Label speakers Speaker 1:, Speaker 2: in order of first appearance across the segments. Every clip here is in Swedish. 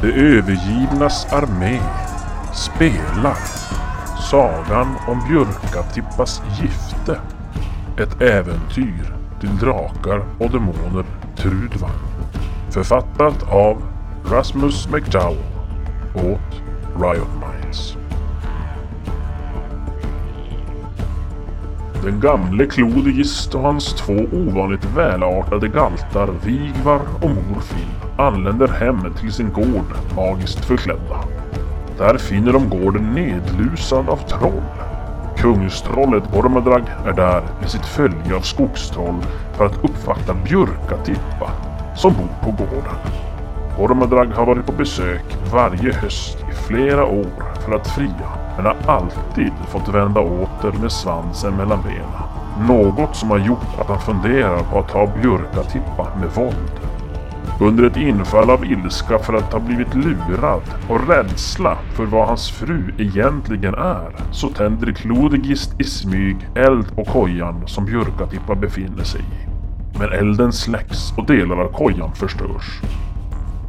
Speaker 1: Det övergivnas armé spelar Sagan om Björkatippas gifte. Ett äventyr till drakar och demoner Trudvang. Författat av Rasmus McDowell åt Riot Minds. Den gamle Clodigist och hans två ovanligt välartade galtar Vigvar och Morfin anländer hem till sin gård magiskt förklädda. Där finner de gården nedlusad av troll. Kungstrollet Gormadrag är där med sitt följe av skogstroll för att uppvakta Björkatippa som bor på gården. Gormadrag har varit på besök varje höst i flera år för att fria men har alltid fått vända åter med svansen mellan benen. Något som har gjort att han funderar på att ta Björkatippa med våld. Under ett infall av ilska för att ha blivit lurad och rädsla för vad hans fru egentligen är så tänder Klodigist i smyg eld på kojan som Björkatippa befinner sig i. Men elden släcks och delar av kojan förstörs.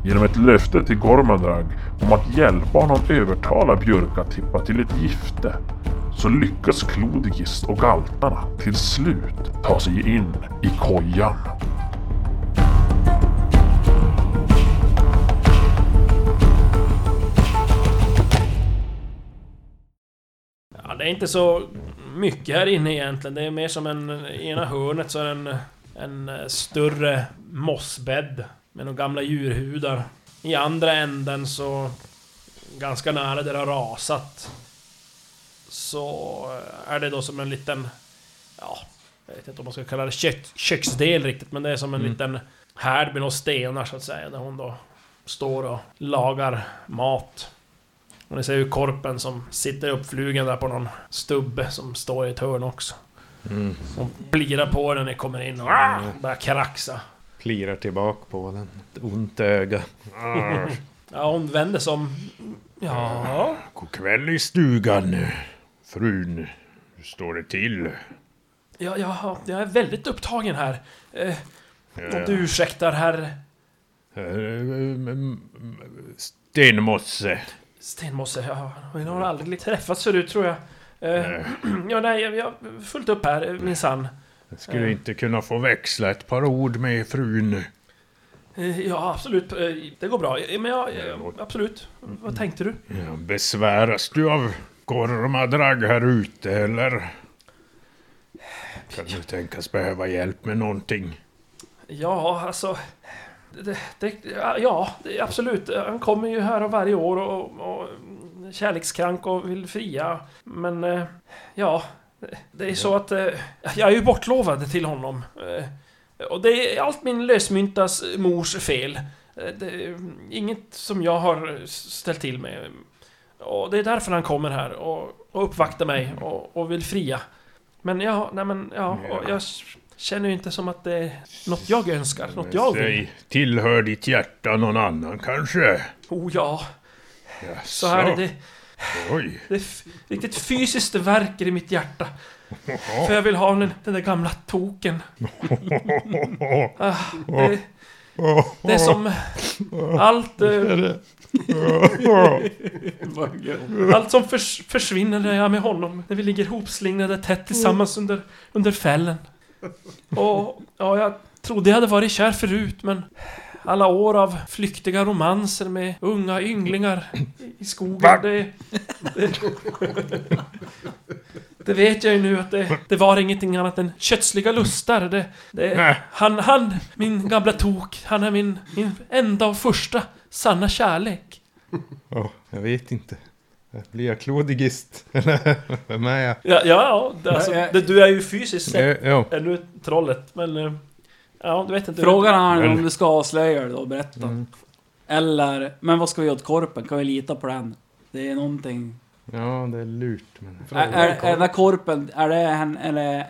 Speaker 1: Genom ett löfte till Gormadrag om att hjälpa honom övertala Björkatippa till ett gifte så lyckas Klodigist och galtarna till slut ta sig in i kojan.
Speaker 2: Ja, det är inte så mycket här inne egentligen. Det är mer som en... I ena hörnet så är det en, en eh, större mossbädd med några gamla djurhudar. I andra änden så... Ganska nära där det har rasat. Så eh, är det då som en liten... Ja, jag vet inte om man ska kalla det kök, köksdel riktigt, men det är som en liten härd med några stenar så att säga, där hon då står och lagar mat. Och ni ser ju korpen som sitter uppflugen där på någon stubbe som står i ett hörn också. Hon plirar på den när ni kommer in och ah, börjar kraxa.
Speaker 3: Plirar tillbaka på den. Ett ont öga. Ah,
Speaker 2: Ja, hon vänder sig om. Ja,
Speaker 3: God kväll i stugan, frun. Hur står det till?
Speaker 2: ja, ja, jag är väldigt upptagen här. Eh, om du ursäktar herr
Speaker 3: Eh, m- m- m- Stenmosse.
Speaker 2: Stenmosse. Ja, vi har aldrig träffats förut tror jag. Eh, ja, Mm. nej, jag jag har fullt upp här eh, minsann.
Speaker 3: Jag Skulle inte kunna få växla ett par ord med frun.
Speaker 2: Eh, Ja, absolut. eh, Det går bra. Mm. Eh, Men ja, eh, absolut. Vad tänkte du?
Speaker 3: Ja, Besväras du av gormadragg här ute eller? Kan du tänkas behöva hjälp med någonting?
Speaker 2: Ja, alltså... Det, det, ja, det, absolut. Han kommer ju här varje år och, och kärlekskrank och vill fria. Men, eh, ja. Det är så att eh, jag är ju bortlovad till honom. Eh, Och det är allt min lösmyntas mors fel. Eh, Det är inget som jag har ställt till med. Och det är därför han kommer här och, och uppvaktar mig och, och vill fria. Men ja, nej men ja, och jag känner ju inte som att det är något jag önskar, något jag vill.
Speaker 3: Säg, tillhör ditt hjärta någon annan kanske?
Speaker 2: Oh ja,
Speaker 3: Jaså,
Speaker 2: så här är det.
Speaker 3: Oj.
Speaker 2: Det är f- riktigt fysiskt verkar i mitt hjärta. För jag vill ha den, den där gamla token. Ah, det, det är som... Allt... eh, Allt som förs, försvinner när jag är med honom. När vi ligger hopslingrade tätt tillsammans under, under fällen. Och, ja, jag trodde jag hade varit kär förut, men... Alla år av flyktiga romanser med unga ynglingar i- i skogen, det, det... Det vet jag ju nu att det, det var ingenting annat än kötsliga lustar. Det, det,
Speaker 3: Nej.
Speaker 2: han, han, min gamla tok, han är min, min enda och första sanna kärlek.
Speaker 4: Ja, jag vet inte. Blir jag klodigist? Eller vem är jag?
Speaker 2: Ja, ja, ja alltså,
Speaker 5: Ja, ja.
Speaker 2: Det, du är ju fysiskt sett
Speaker 4: Eh, Ja,
Speaker 2: ännu trollet, men... eh, Ja, du vet inte.
Speaker 5: Frågan är om du ska avslöja det då, berätta. Eller, men vad ska vi göra åt korpen? Kan vi lita på den? Det är någonting...
Speaker 4: ja det är lurt. Men...
Speaker 5: Är, är, är den här korpen, är det hen, eller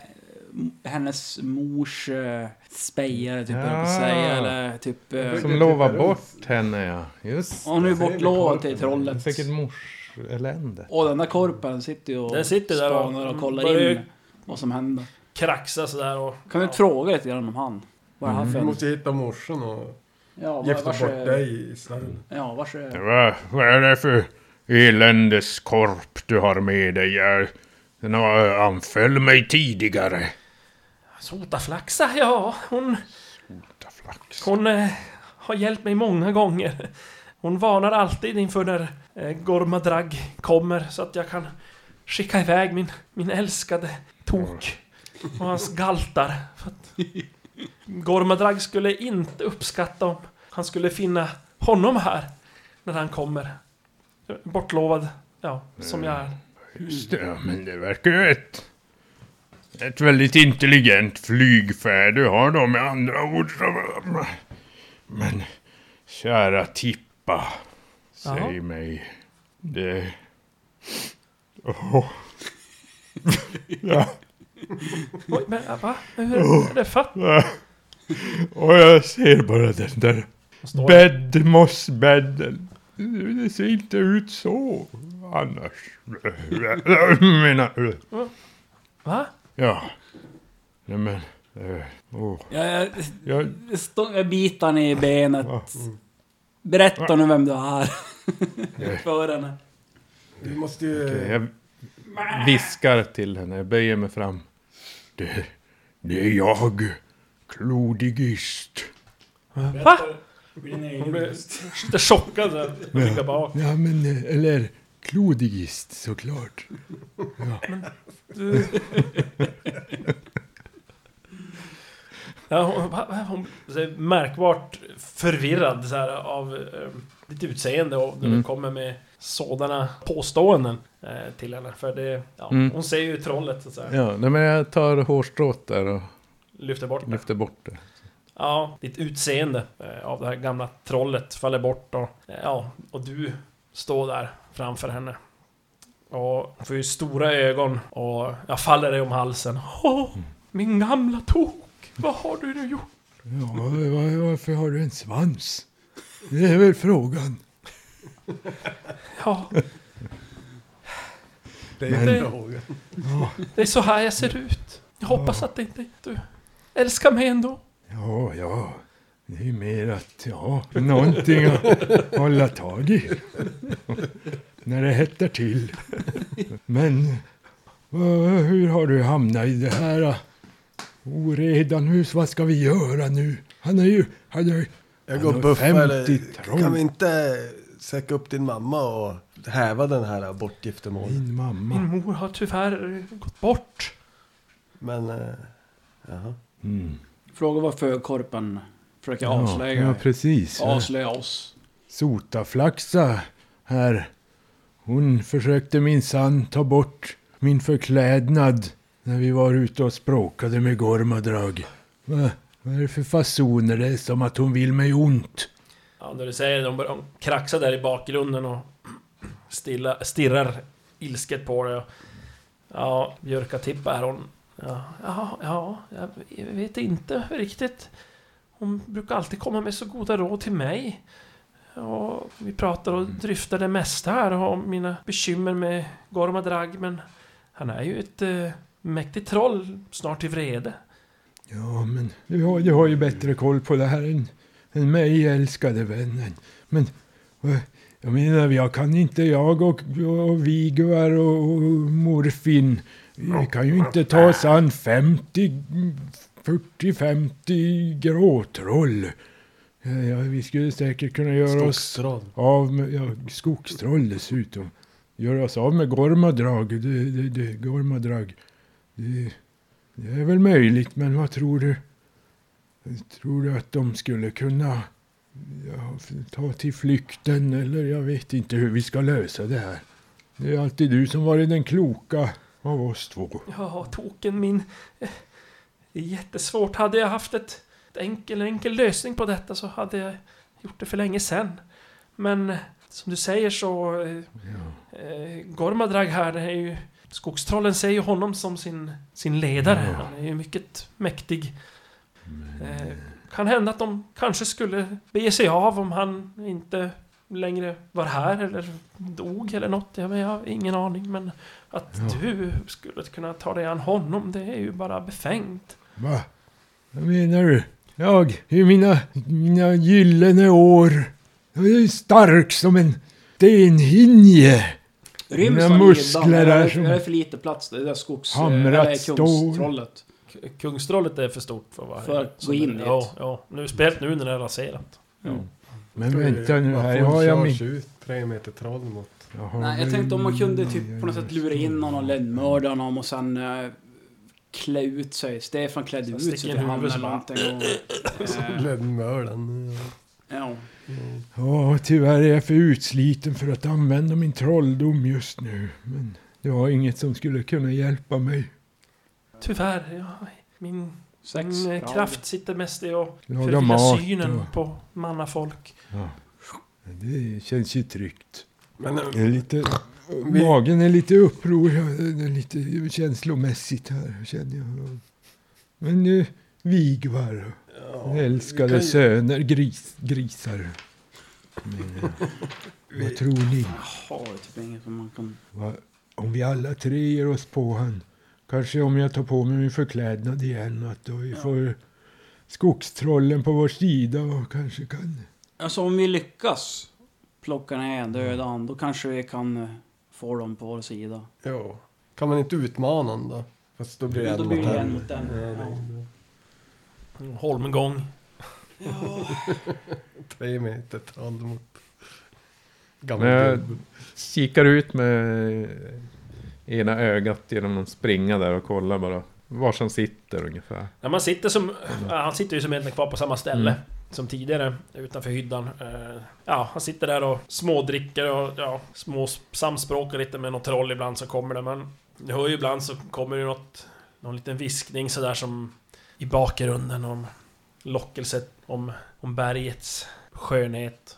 Speaker 5: hennes mors uh, spejare typ, höll jag på att säga,
Speaker 4: Ja.
Speaker 5: eller typ... eh,
Speaker 4: Som lovar bort henne ja. Just
Speaker 5: Hon är ju
Speaker 4: det.
Speaker 5: bortlovad till
Speaker 4: Det är
Speaker 5: trollet.
Speaker 4: Säkert morselände.
Speaker 5: Och den där korpen sitter ju och
Speaker 2: Den sitter där och-
Speaker 5: spanar och kollar
Speaker 2: börjar ju-
Speaker 5: in vad som händer.
Speaker 2: Kraxa sådär och...
Speaker 5: Kan du
Speaker 2: Ja.
Speaker 5: fråga lite grann om han? Vad är det här för
Speaker 6: Vi
Speaker 5: en?
Speaker 6: måste hitta morsan och...
Speaker 5: Ja, var,
Speaker 6: Gifta
Speaker 5: vars,
Speaker 6: bort dig i snön.
Speaker 5: Ja, vars,
Speaker 3: Ja, Va, vad är det för eländeskorp du har med dig? Jag, den har anföll mig tidigare.
Speaker 2: Sotaflaxa, ja. Hon,
Speaker 3: Ta flax.
Speaker 2: hon eh, har hjälpt mig många gånger. Hon varnar alltid inför när eh, Gormadrag kommer så att jag kan skicka iväg min, min älskade Tok och hans galtar. För att Gormadrag skulle inte uppskatta om han skulle finna honom här när han kommer. Bortlovad, ja, som jag är.
Speaker 3: Just det, ja, men det verkar ju ett, ett väldigt intelligent flygfärd du har då med andra ord. Men kära Tippa, säg
Speaker 2: Jaha.
Speaker 3: mig. Det... Åh. ja.
Speaker 2: Oj, men eh, va? Hur är det fatt?
Speaker 3: Och jag ser bara den där
Speaker 2: Står det?
Speaker 3: Bädd, mossbädden. Det ser inte ut så annars. Menar...
Speaker 2: Va?
Speaker 3: Ja. Nej men. eh, åh.
Speaker 5: Ja, jag,
Speaker 3: Jag,
Speaker 5: stå- jag bitar ner i benet.
Speaker 3: Ja. mm.
Speaker 5: Berätta nu vem du är. För henne.
Speaker 6: Du måste ju...
Speaker 4: Jag viskar till henne, jag böjer mig fram.
Speaker 3: det, det är jag. Klodigist.
Speaker 2: Va?
Speaker 6: Bli ner i
Speaker 2: Hon blir
Speaker 6: huvudet.
Speaker 2: lite chockad så här. Hon blickar bak.
Speaker 3: Ja men eh, eller klodigist såklart.
Speaker 2: Ja, hon, va- va- hon är märkbart förvirrad så här, av eh, ditt utseende och
Speaker 4: Mm.
Speaker 2: när du kommer med sådana påståenden eh, till henne. För det, ja,
Speaker 4: Mm.
Speaker 2: hon ser ju trollet så att säga.
Speaker 4: Ja, nej, men jag tar hårstrået där och
Speaker 2: Lyfter bort det.
Speaker 4: lyfter bort det.
Speaker 2: Ja, ditt utseende eh, av det här gamla trollet faller bort och, eh, ja, och du står där framför henne. Och hon får ju stora ögon och jag faller dig om halsen. Åh, min gamla tok! Vad har du nu gjort?
Speaker 3: Ja, va- varför har du en svans? Det är väl frågan.
Speaker 2: Ja,
Speaker 6: Det är
Speaker 2: Men-
Speaker 6: frågan.
Speaker 2: Det är så här jag ser ut. Jag hoppas att det inte du älskar mig ändå.
Speaker 3: Ja, ja. Det är ju mer att, ja, någonting att hålla tag i. När det hettar till. Men, vad- hur har du hamnat i det här eh, oredan hus? Vad ska vi göra nu? Han är ju, han är
Speaker 6: Jag
Speaker 3: Han
Speaker 6: går
Speaker 3: har
Speaker 6: och buffar
Speaker 3: 50
Speaker 6: eller...
Speaker 3: troll.
Speaker 6: Kan vi inte söka upp din mamma och häva den här bortgiftermålet?
Speaker 3: min mamma.
Speaker 2: Min mor har tyvärr eh, gått bort.
Speaker 6: Men... eh, Jaha.
Speaker 3: Mm.
Speaker 5: Fråga vad förkorpen försöker avslöja.
Speaker 3: ja, precis. Ja.
Speaker 5: avslöja oss.
Speaker 3: Sotaflaxa här. Hon försökte minsann ta bort min förklädnad när vi var ute och språkade med Gormadrag. Va? Vad är det för fasoner? Det är som att hon vill mig ont.
Speaker 2: Ja, när du säger det, de börjar kraxa där i bakgrunden och stilla, stirrar ilsket på dig. Ja, Björkatippa här hon. Ja, ja, ja, jag vet inte riktigt. Hon brukar alltid komma med så goda råd till mig. Ja, vi pratar och dryftar det mesta här om mina bekymmer med Gormadrag, men han är ju ett eh, mäktigt troll, snart i vrede.
Speaker 3: Ja, men du har, du har ju bättre koll på det här än, än mig, älskade vännen. Men eh, jag menar, jag kan inte, jag och, och Vigvar och, och morfin, vi kan ju inte ta oss an 50, 40-50 gråtroll. Ja, ja, vi skulle säkert kunna göra oss
Speaker 6: Skogstroll.
Speaker 3: av med, ja, skogstroll dessutom. Göra oss av med Gormadrag. Det, det, det, Gormadrag. Det, det är väl möjligt, men vad tror du? Tror du att de skulle kunna ja, ta till flykten eller jag vet inte hur vi ska lösa det här. Det är alltid du som varit den kloka av oss två.
Speaker 2: Ja, token min. Eh, Det är jättesvårt. Hade jag haft ett, ett enkel, enkel lösning på detta så hade jag gjort det för länge sedan. Men eh, som du säger så... eh, Eh, Gormadrag här är ju... Skogstrollen ser ju honom som sin, sin ledare.
Speaker 3: Ja.
Speaker 2: Han är ju mycket mäktig. Eh, kan hända att de kanske skulle bege sig av om han inte längre var här eller dog eller något. Jag, men jag har ingen aning men att
Speaker 3: Ja.
Speaker 2: du skulle kunna ta dig an honom det är ju bara befängt.
Speaker 3: Va? Vad menar du? Jag i mina, mina gyllene år. Jag är stark som en stenhinje.
Speaker 5: Ryms
Speaker 3: Mina
Speaker 5: han
Speaker 3: muskler
Speaker 5: muskler
Speaker 3: är
Speaker 5: är
Speaker 3: som-
Speaker 5: Det är för lite plats. Det där skogs... eh,
Speaker 3: Hamrat
Speaker 5: eller kungstrollet.
Speaker 2: K- Kungstrollet är för stort för att vara
Speaker 5: För att gå in i
Speaker 2: Ja,
Speaker 5: ett.
Speaker 2: ja. Nu, speciellt nu när det är raserat.
Speaker 3: Men vänta nu här, har jag min...
Speaker 6: ut tre meter troll mot...
Speaker 3: Jag har
Speaker 5: Nej, jag
Speaker 3: väl
Speaker 5: tänkte om man kunde
Speaker 3: mina
Speaker 5: typ på något sätt lura in någon och lönnmörda honom och sen eh, klä ut sig. Stefan klädde
Speaker 2: Så
Speaker 5: ut sig
Speaker 2: sticker
Speaker 5: till
Speaker 2: in
Speaker 5: han
Speaker 2: huvudet
Speaker 5: eller
Speaker 2: så
Speaker 5: någonting. Och, eh,
Speaker 6: Lönnmördaren.
Speaker 5: ja.
Speaker 3: Ja, tyvärr är jag för utsliten för att använda min trolldom just nu. Men det var inget som skulle kunna hjälpa mig.
Speaker 2: Tyvärr, ja, min,
Speaker 5: Sex
Speaker 2: min eh,
Speaker 5: grader.
Speaker 2: kraft sitter mest i att
Speaker 3: Laga
Speaker 2: förvilla
Speaker 3: mat
Speaker 2: synen
Speaker 3: och...
Speaker 2: på mannafolk.
Speaker 3: Det känns ju tryggt.
Speaker 6: Men eh,
Speaker 3: Jag är lite...
Speaker 6: Vi-
Speaker 3: Magen är lite uppror, jag är lite känslomässigt här känner jag. Men nu, Vigvar,
Speaker 6: ja, vi
Speaker 3: älskade
Speaker 6: kan ju-
Speaker 3: söner, gris, grisar. Men, eh, vad tror ni?
Speaker 5: Har typ inget som man kan...
Speaker 3: Vad, om vi alla tre ger oss på han. Kanske om jag tar på mig min förklädnad igen. Att då vi får skogstrollen på vår sida och kanske kan...
Speaker 5: Alltså om vi lyckas plocka ner en död
Speaker 3: Mm.
Speaker 5: and, då kanske vi kan eh, få dem på vår sida.
Speaker 6: Ja. Kan man inte utmana honom då? Fast då blir det
Speaker 5: Ja,
Speaker 6: en
Speaker 5: då
Speaker 6: mot
Speaker 5: blir det en
Speaker 6: en.
Speaker 5: mot den.
Speaker 6: Ja,
Speaker 5: Ja.
Speaker 6: det-
Speaker 2: Holmgång.
Speaker 6: Tre meter troll mot...
Speaker 4: Men
Speaker 6: Gammal
Speaker 4: jag
Speaker 6: gubbe.
Speaker 4: kikar ut med eh, ena ögat genom att springa där och kollar bara var som sitter ungefär.
Speaker 2: När man sitter som... ja, Han sitter ju som egentligen kvar på samma ställe
Speaker 3: Mm.
Speaker 2: som tidigare, utanför hyddan. Eh, Ja, han sitter där och smådricker och ja, små samspråkar lite med något troll ibland som kommer där. Men du hör ju ibland så kommer det något... Någon liten viskning sådär som i bakgrunden om lockelse om, om bergets skönhet.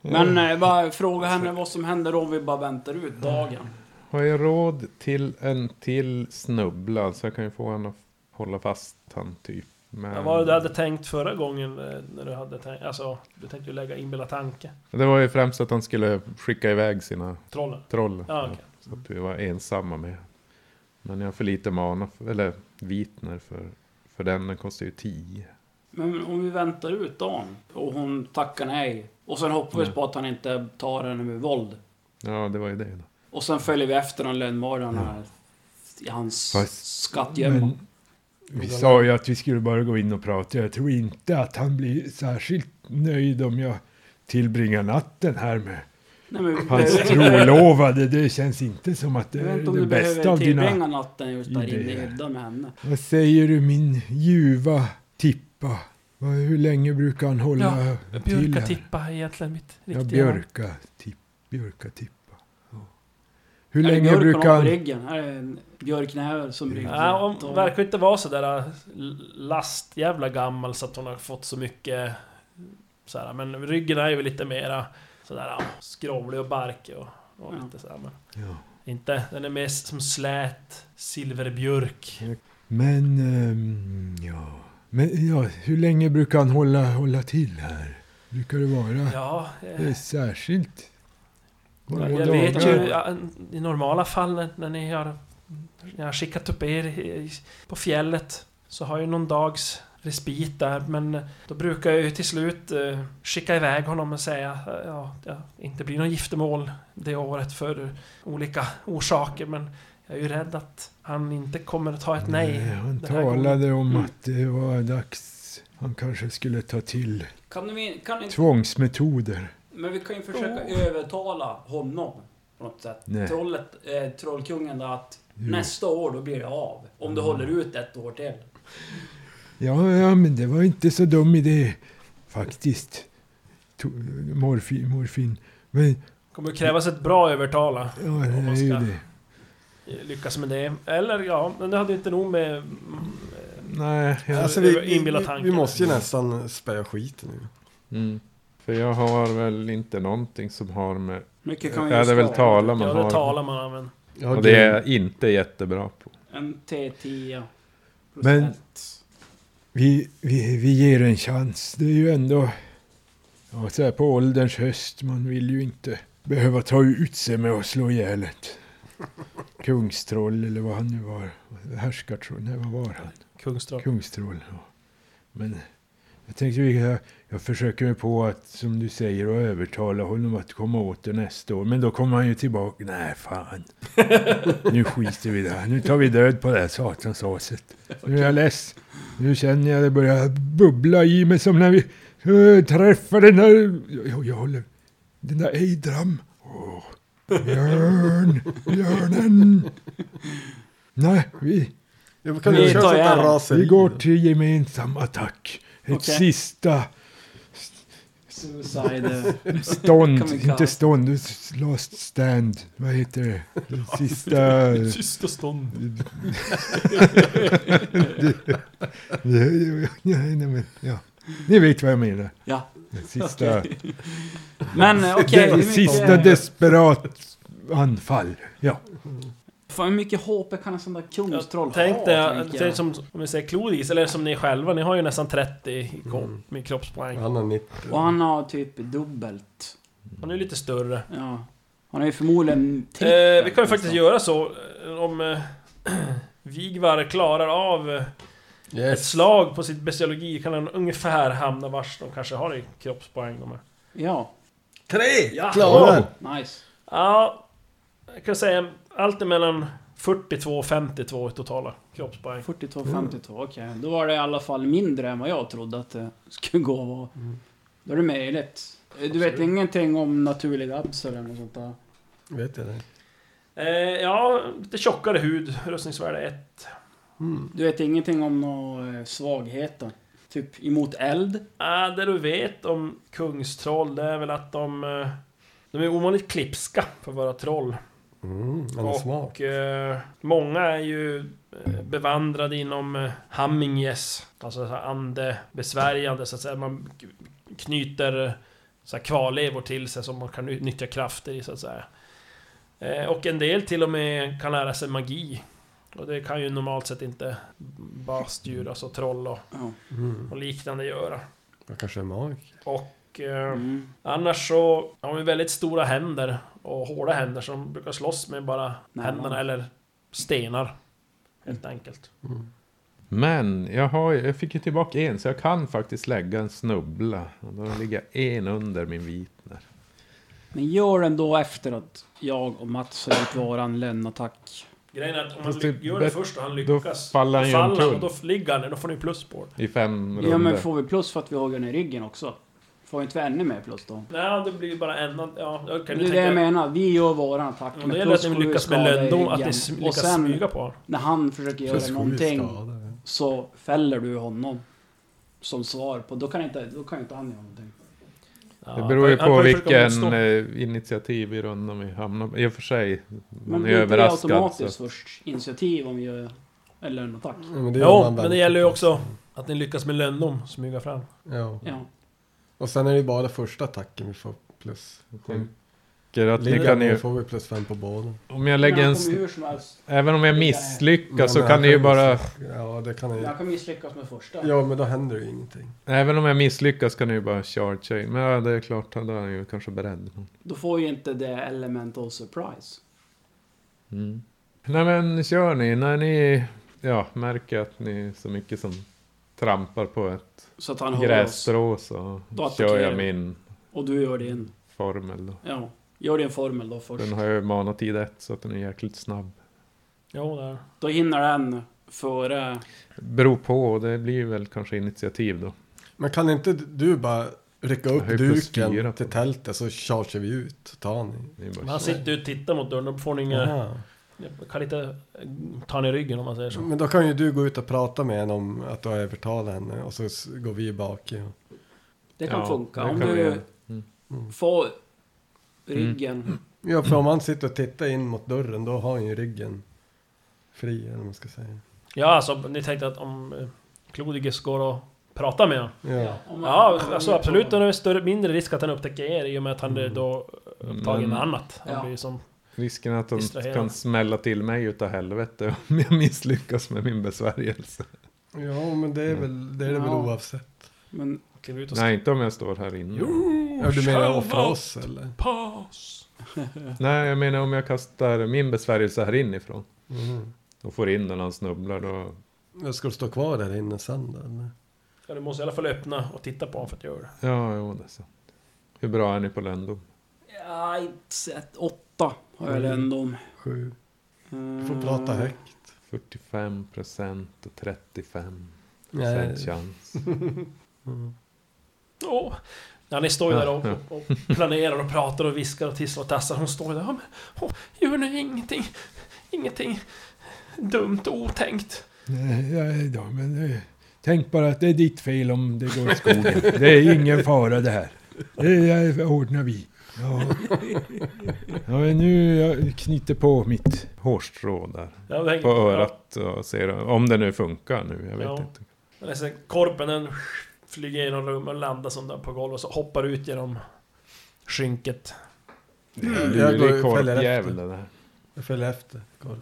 Speaker 5: Men eh, bara fråga henne vad som händer om vi bara väntar
Speaker 3: Mm.
Speaker 5: ut dagen.
Speaker 4: Har jag råd till en till snubbla så jag kan ju få henne att hålla fast han typ. Men...
Speaker 2: Ja, Vad var det du hade tänkt förra gången eh, när du hade tänkt... Alltså, du tänkte ju lägga inbilla tanke.
Speaker 4: det var ju främst att han skulle skicka iväg sina
Speaker 2: Trollen.
Speaker 4: troll.
Speaker 2: Ja, okej.
Speaker 4: Så att vi var ensamma med. Men jag har för lite mana, för, eller vitner för, för den. Den kostar ju 10.
Speaker 5: Men om vi väntar ut dagen och hon tackar nej. Och sen hoppas vi
Speaker 4: Mm.
Speaker 5: på att han inte tar henne med våld.
Speaker 4: Ja, det var ju det. Då.
Speaker 5: Och sen följer vi efter den lönnmördaren här. I hans
Speaker 4: Fast-
Speaker 5: skattgömma.
Speaker 3: Mm. Men, vi sa ju att vi skulle bara gå in och prata. Jag tror inte att han blir särskilt nöjd om jag tillbringar natten här med
Speaker 5: Nej men vi
Speaker 3: hans
Speaker 5: behöver,
Speaker 3: trolovade. Det känns inte som att det
Speaker 5: jag vet
Speaker 3: är
Speaker 5: inte om
Speaker 3: det
Speaker 5: du
Speaker 3: bästa av
Speaker 5: behöver tillbringa
Speaker 3: dina...
Speaker 5: natten just där inne i
Speaker 3: idéer.
Speaker 5: hyddan med henne.
Speaker 3: Vad säger du min ljuva tippa? Vad- Hur länge brukar han hålla till
Speaker 2: Björka
Speaker 3: här?
Speaker 2: tippa är egentligen mitt
Speaker 3: Ja,
Speaker 2: riktiga...
Speaker 3: björka, tipp, björka tippa. Ja. Hur
Speaker 5: Är det
Speaker 3: länge
Speaker 5: björk
Speaker 3: brukar
Speaker 5: man har på
Speaker 3: han...
Speaker 5: ryggen? Är det en björknäve som rygg?
Speaker 2: Ja, hon verkar inte vara så där äh, lastjävla gammal så att hon har fått så mycket... Så här, men ryggen är ju lite mera sådär ja, skrovlig och barkig och, och
Speaker 5: Ja.
Speaker 2: lite så här, men
Speaker 3: Ja.
Speaker 2: Inte, den är mest som slät silverbjörk.
Speaker 3: Men, ehm, ja. Men, ja, hur länge brukar han hålla, hålla till här? Brukar det vara
Speaker 2: Ja,
Speaker 3: det är
Speaker 2: eh,
Speaker 3: särskilt? Några
Speaker 2: jag vet ju
Speaker 3: dagar?
Speaker 2: ja, i normala fall när, när ni har, när jag har skickat upp er i- på fjället så har jag någon dags respit där men då brukar jag ju till slut eh, skicka iväg honom och säga eh, ja, det inte blir något giftermål det året för olika orsaker men jag är ju rädd att han inte kommer att ta ett nej.
Speaker 3: han
Speaker 2: den här gången.
Speaker 3: talade om
Speaker 5: Mm.
Speaker 3: att det var dags. Han kanske skulle ta till
Speaker 5: Kan vi, kan inte,
Speaker 3: tvångsmetoder.
Speaker 5: men vi kan ju försöka övertala honom på något sätt.
Speaker 3: Nej.
Speaker 5: Trollet, eh, trollkungen där att
Speaker 3: Jo.
Speaker 5: nästa år då blir det av. Om du
Speaker 3: Mm.
Speaker 5: håller ut ett år till.
Speaker 3: Ja, ja, men det var inte så dum idé faktiskt. To, morfin, morfin. Men,
Speaker 2: kommer krävas ett bra övertala.
Speaker 3: ja, det
Speaker 2: man
Speaker 3: är ju
Speaker 2: ska-
Speaker 3: det.
Speaker 2: Lyckas med det. Eller ja, men det hade ju inte nog med... mm,
Speaker 4: Nej, jag...
Speaker 6: Alltså
Speaker 2: det
Speaker 6: vi,
Speaker 2: var
Speaker 6: vi,
Speaker 2: inbilla
Speaker 6: vi, vi
Speaker 2: tanken.
Speaker 6: måste ju nästan spöa skiten nu.
Speaker 4: Mm. För jag har väl inte någonting som har med...
Speaker 5: Mycket kan
Speaker 4: Jag
Speaker 5: vi ju
Speaker 4: hade väl
Speaker 5: skapa.
Speaker 4: tala man
Speaker 2: Ja, det
Speaker 4: har.
Speaker 2: talar man använder.
Speaker 6: Ja,
Speaker 4: Och det är jag inte jättebra på.
Speaker 5: En T10
Speaker 3: Men-
Speaker 5: procent.
Speaker 3: Vi, vi, vi ger en chans. Det är ju ändå... Ja, så här på ålderns höst, man vill ju inte behöva ta ut sig med att slå ihjäl ett kungstroll eller vad han nu var. Härskartroll, nej vad var han?
Speaker 2: Kungström.
Speaker 3: Kungstroll. Ja. Men jag tänkte vi- jag, jag försöker mig på att, som du säger, att övertala honom att komma åter nästa år. Men då kommer han ju tillbaka. Nej, fan. Nu skiter vi i det här. Nu tar vi död på det här satanshaset. Nu är jag less. Nu känner jag det börjar bubbla i mig som när vi eh, träffar den där... Jag, jag håller... Den där Ejdram. Åh, björn, björnen. Nej, vi...
Speaker 6: Ja, men kan
Speaker 5: Vi
Speaker 6: du köra
Speaker 5: tar
Speaker 6: sånt där
Speaker 5: igen.
Speaker 6: raseri?
Speaker 3: Vi går till gemensam attack. Ett
Speaker 5: Okej.
Speaker 3: sista
Speaker 5: Suicide.
Speaker 3: stånd.
Speaker 5: Kamikaze.
Speaker 3: Inte stånd, s- last stand. Vad heter det? Sista...
Speaker 2: Sista stånd.
Speaker 3: Nej, nej, men, ja. Ni vet vad jag menar.
Speaker 5: ja.
Speaker 3: Sista,
Speaker 5: Okej. Men eh, okej,
Speaker 3: det,
Speaker 5: hur,
Speaker 3: sista
Speaker 5: mycket-
Speaker 3: desperat anfall. Ja.
Speaker 5: fan, hur mycket HP kan en sån där kungstroll
Speaker 2: Jag tänkte
Speaker 5: ha?
Speaker 2: jag,
Speaker 5: tänker
Speaker 2: det är som om vi säger Clodis, eller som ni själva, ni har ju nästan 30 i kom, med kroppspoäng.
Speaker 6: Han har 90.
Speaker 5: Och han har typ dubbelt.
Speaker 2: Han är ju lite större.
Speaker 5: Ja. Han är ju förmodligen liksom. trippel,
Speaker 2: Eh, vi kan ju faktiskt
Speaker 5: nästan.
Speaker 2: göra så, eh, om eh, Vigvar klarar av eh, ett
Speaker 6: Yes.
Speaker 2: slag på sitt bestiologi kan han ungefär hamna vars de kanske har i kroppspoäng. De här.
Speaker 5: Ja,
Speaker 6: Tre!
Speaker 2: Ja.
Speaker 6: Klarar!
Speaker 5: nice.
Speaker 2: Ja, jag kan säga allt mellan 42 och 52 i totala kroppspoäng.
Speaker 5: 42, 52, okej. Då var det i alla fall mindre än vad jag trodde att det skulle gå att vara. Då är det möjligt. Eh, Du vet ingenting om naturliga abs eller något sånt där?
Speaker 6: Vet jag det?
Speaker 2: Eh, ja, lite tjockare hud, rustningsvärde 1.
Speaker 6: Mm.
Speaker 5: Du vet ingenting om några eh, svagheter? Typ emot eld?
Speaker 2: Ah, det du vet om kungstroll, det är väl att de... eh, De är ovanligt klipska för att vara troll.
Speaker 6: Mm, han är
Speaker 2: och
Speaker 6: smart.
Speaker 2: eh, många är ju eh, bevandrade inom eh, hammingjes. Alltså så här andebesvärjande så att säga. Man k- knyter eh, så här kvarlevor till sig som man kan utnyttja krafter i så att säga. Eh, och en del till och med kan lära sig magi. Och det kan ju normalt sett inte bastdjur, alltså troll och,
Speaker 5: Ja.
Speaker 6: Mm.
Speaker 2: och liknande göra.
Speaker 6: Han kanske är magiker.
Speaker 2: Och eh,
Speaker 5: Mm.
Speaker 2: annars så har vi väldigt stora händer och hårda händer som brukar slåss med bara
Speaker 5: Nej,
Speaker 2: händerna
Speaker 5: man-
Speaker 2: eller stenar. Helt
Speaker 4: Mm.
Speaker 2: enkelt.
Speaker 4: Men jag, har, ju- jag fick ju tillbaka en så jag kan faktiskt lägga en snubbla. Och då ligger jag en under min vitner.
Speaker 5: Men gör den då efter att jag och Mats har gjort våran lönattack.
Speaker 2: Grejen är att om man
Speaker 4: Fast det-
Speaker 2: ly- gör det
Speaker 4: bet-
Speaker 2: först och han
Speaker 4: Då
Speaker 2: lyckas, då
Speaker 4: faller han ju
Speaker 2: faller han och
Speaker 4: omkull
Speaker 2: då f- ligger han ner, då får ni plus på det.
Speaker 4: i fem
Speaker 5: Ja men
Speaker 4: runder.
Speaker 5: får vi plus för att vi har den i ryggen också? Får vi inte ännu mer plus då?
Speaker 2: Nej, det blir ju bara en... an- Ja, jag kan
Speaker 5: Det
Speaker 2: ju
Speaker 5: är det jag
Speaker 2: tänka...
Speaker 5: mendar, vi gör våran attack.
Speaker 2: Ja, det
Speaker 5: men
Speaker 2: gäller att
Speaker 5: plus
Speaker 2: ni
Speaker 5: får vi
Speaker 2: lyckas med
Speaker 5: skada i
Speaker 2: löndom, att ni
Speaker 5: ryggen.
Speaker 2: s-
Speaker 5: Och
Speaker 2: lyckas
Speaker 5: sen
Speaker 2: smyga på honom.
Speaker 5: när han försöker göra någonting så fäller du honom. Som svar på, då kan inte, då kan inte han göra någonting.
Speaker 2: Ja,
Speaker 4: Det
Speaker 2: han
Speaker 4: beror ju
Speaker 2: kan- han
Speaker 4: på
Speaker 2: kan försöka motstå.
Speaker 4: vilken eh, initiativ i rundan vi hamnar på. I och för sig,
Speaker 5: Men
Speaker 4: man är
Speaker 5: blir inte det
Speaker 4: överraskad.
Speaker 5: automatiskt
Speaker 4: Så.
Speaker 5: först initiativ om vi gör en lönattack?
Speaker 6: Ja, men det gör
Speaker 2: Jo,
Speaker 6: man väl.
Speaker 2: men det gäller ju också att ni lyckas med löndom, smyga fram.
Speaker 6: Ja.
Speaker 5: Ja.
Speaker 6: Och sen är det ju bara första attacken vi får plus.
Speaker 4: Tycker Att ni
Speaker 6: Lilla
Speaker 4: kan
Speaker 6: nu
Speaker 4: ju,
Speaker 6: får vi plus fem på båden.
Speaker 4: om jag lägger
Speaker 5: Men
Speaker 4: en...
Speaker 5: han kommer
Speaker 4: sn-
Speaker 5: hur som helst.
Speaker 4: Även om jag
Speaker 6: Men
Speaker 4: misslyckas så
Speaker 6: han
Speaker 4: kan ni ju bara...
Speaker 6: Ja, det kan ni ju.
Speaker 5: Han kommer misslyckas med första.
Speaker 6: Ja, men då händer ju ingenting.
Speaker 4: Även om jag misslyckas kan ni ju bara charge in. Men ja, det är klart, då är han ju kanske beredd.
Speaker 5: Då får ju inte det elemental surprise.
Speaker 4: Mm. Nej men kör ni, när ni ja, märker att ni så mycket som trampar på ett
Speaker 5: Så att han hör oss.
Speaker 4: grässtrå så
Speaker 5: Då
Speaker 4: kör
Speaker 5: attackerar
Speaker 4: jag
Speaker 5: vi.
Speaker 4: min
Speaker 5: Och du gör din.
Speaker 4: formel då.
Speaker 5: Ja. Gör din formel då först.
Speaker 4: Den har jag ju manat tid ett så att den är jäkligt snabb.
Speaker 2: Jo, där.
Speaker 5: Då hinner den före...
Speaker 4: Beror på, det blir väl kanske initiativ då.
Speaker 6: Men kan inte du bara rycka
Speaker 4: Jag har
Speaker 6: upp
Speaker 4: ju plus fyra
Speaker 6: duken
Speaker 4: på
Speaker 6: till
Speaker 4: det.
Speaker 6: tältet så chargear vi ut och tar ni.
Speaker 4: Det är bara
Speaker 2: Men han
Speaker 4: kör.
Speaker 2: sitter ju och tittar mot dörren, då får ni inga...
Speaker 6: Aha.
Speaker 2: Jag kan inte eh, ta honom i ryggen om man säger så.
Speaker 6: Mm. Men då kan ju du gå ut och prata med henne om att du har övertalat henne och så s- går vi bak. Ja.
Speaker 5: Det kan
Speaker 4: Ja,
Speaker 5: funka.
Speaker 4: det
Speaker 5: Om
Speaker 4: kan vi
Speaker 5: du
Speaker 4: göra. Mm.
Speaker 5: får ryggen.
Speaker 6: ja, för om han sitter och tittar in mot dörren då har han ju ryggen fri eller vad man ska säga.
Speaker 2: Ja, alltså ni tänkte att om eh, Clodigis går och pratar med honom?
Speaker 6: Ja.
Speaker 5: Om man-
Speaker 2: Ja,
Speaker 5: om man
Speaker 2: alltså
Speaker 5: gör
Speaker 2: absolut.
Speaker 5: på-
Speaker 2: Då är det större, mindre risk att han upptäcker er i och med att han är då upptagen med
Speaker 4: Mm. Men-
Speaker 2: annat. Han
Speaker 5: Ja.
Speaker 2: blir som...
Speaker 4: Risken är att de
Speaker 2: Distraherad.
Speaker 4: kan smälla till mig utav helvete om jag misslyckas med min besvärjelse.
Speaker 6: ja, men det är väl, det, är det väl
Speaker 5: Ja.
Speaker 6: oavsett.
Speaker 5: Men
Speaker 2: Kliver ut och
Speaker 4: Nej, inte om jag står här inne.
Speaker 5: Mm.
Speaker 6: Ja, du menar offra oss eller?
Speaker 2: Paus!
Speaker 4: Nej, jag menar om jag kastar min besvärjelse här inifrån
Speaker 6: Mm.
Speaker 4: och får in den och han snubblar då
Speaker 6: Jag ska stå kvar där inne sen då, eller?
Speaker 2: Ja, du måste i alla fall öppna och titta på honom för att göra det.
Speaker 4: Ja, jo, det är sant. Hur bra är ni på ländom?
Speaker 5: Ja, inte sett. Åtta har
Speaker 2: Mm.
Speaker 5: jag Eh, ländom.
Speaker 6: Sju.
Speaker 5: Du
Speaker 6: Du får prata
Speaker 5: Mm.
Speaker 6: högt.
Speaker 4: 45 procent och 35
Speaker 6: Nej.
Speaker 4: procent chans.
Speaker 2: Åh. Ja, ni står ju där och,
Speaker 4: Ja,
Speaker 2: och, och planerar och pratar och viskar och tisslar och tassar. Hon står ju där. Ja, men, åh, gör nu ingenting. Ingenting dumt och otänkt.
Speaker 3: Nej, nej då, men eh, tänk bara att det är ditt fel om det går åt skogen. Det är ingen fara det här. Det eh, ordnar vi. Ja, ja men nu jag knyter på mitt.
Speaker 4: Hårstrå där
Speaker 2: Ja, det hänger-
Speaker 4: på örat och ser om det nu funkar nu. Jag vet
Speaker 2: Ja.
Speaker 4: inte.
Speaker 2: Ja, det är så här, korpen den flyger genom rummet och landar som där på golvet och så hoppar ut genom skynket.
Speaker 5: Mm.
Speaker 6: Jag går
Speaker 4: Lurig
Speaker 6: och följer efter.
Speaker 4: korpjävel det här.
Speaker 6: Jag följer efter. Korp.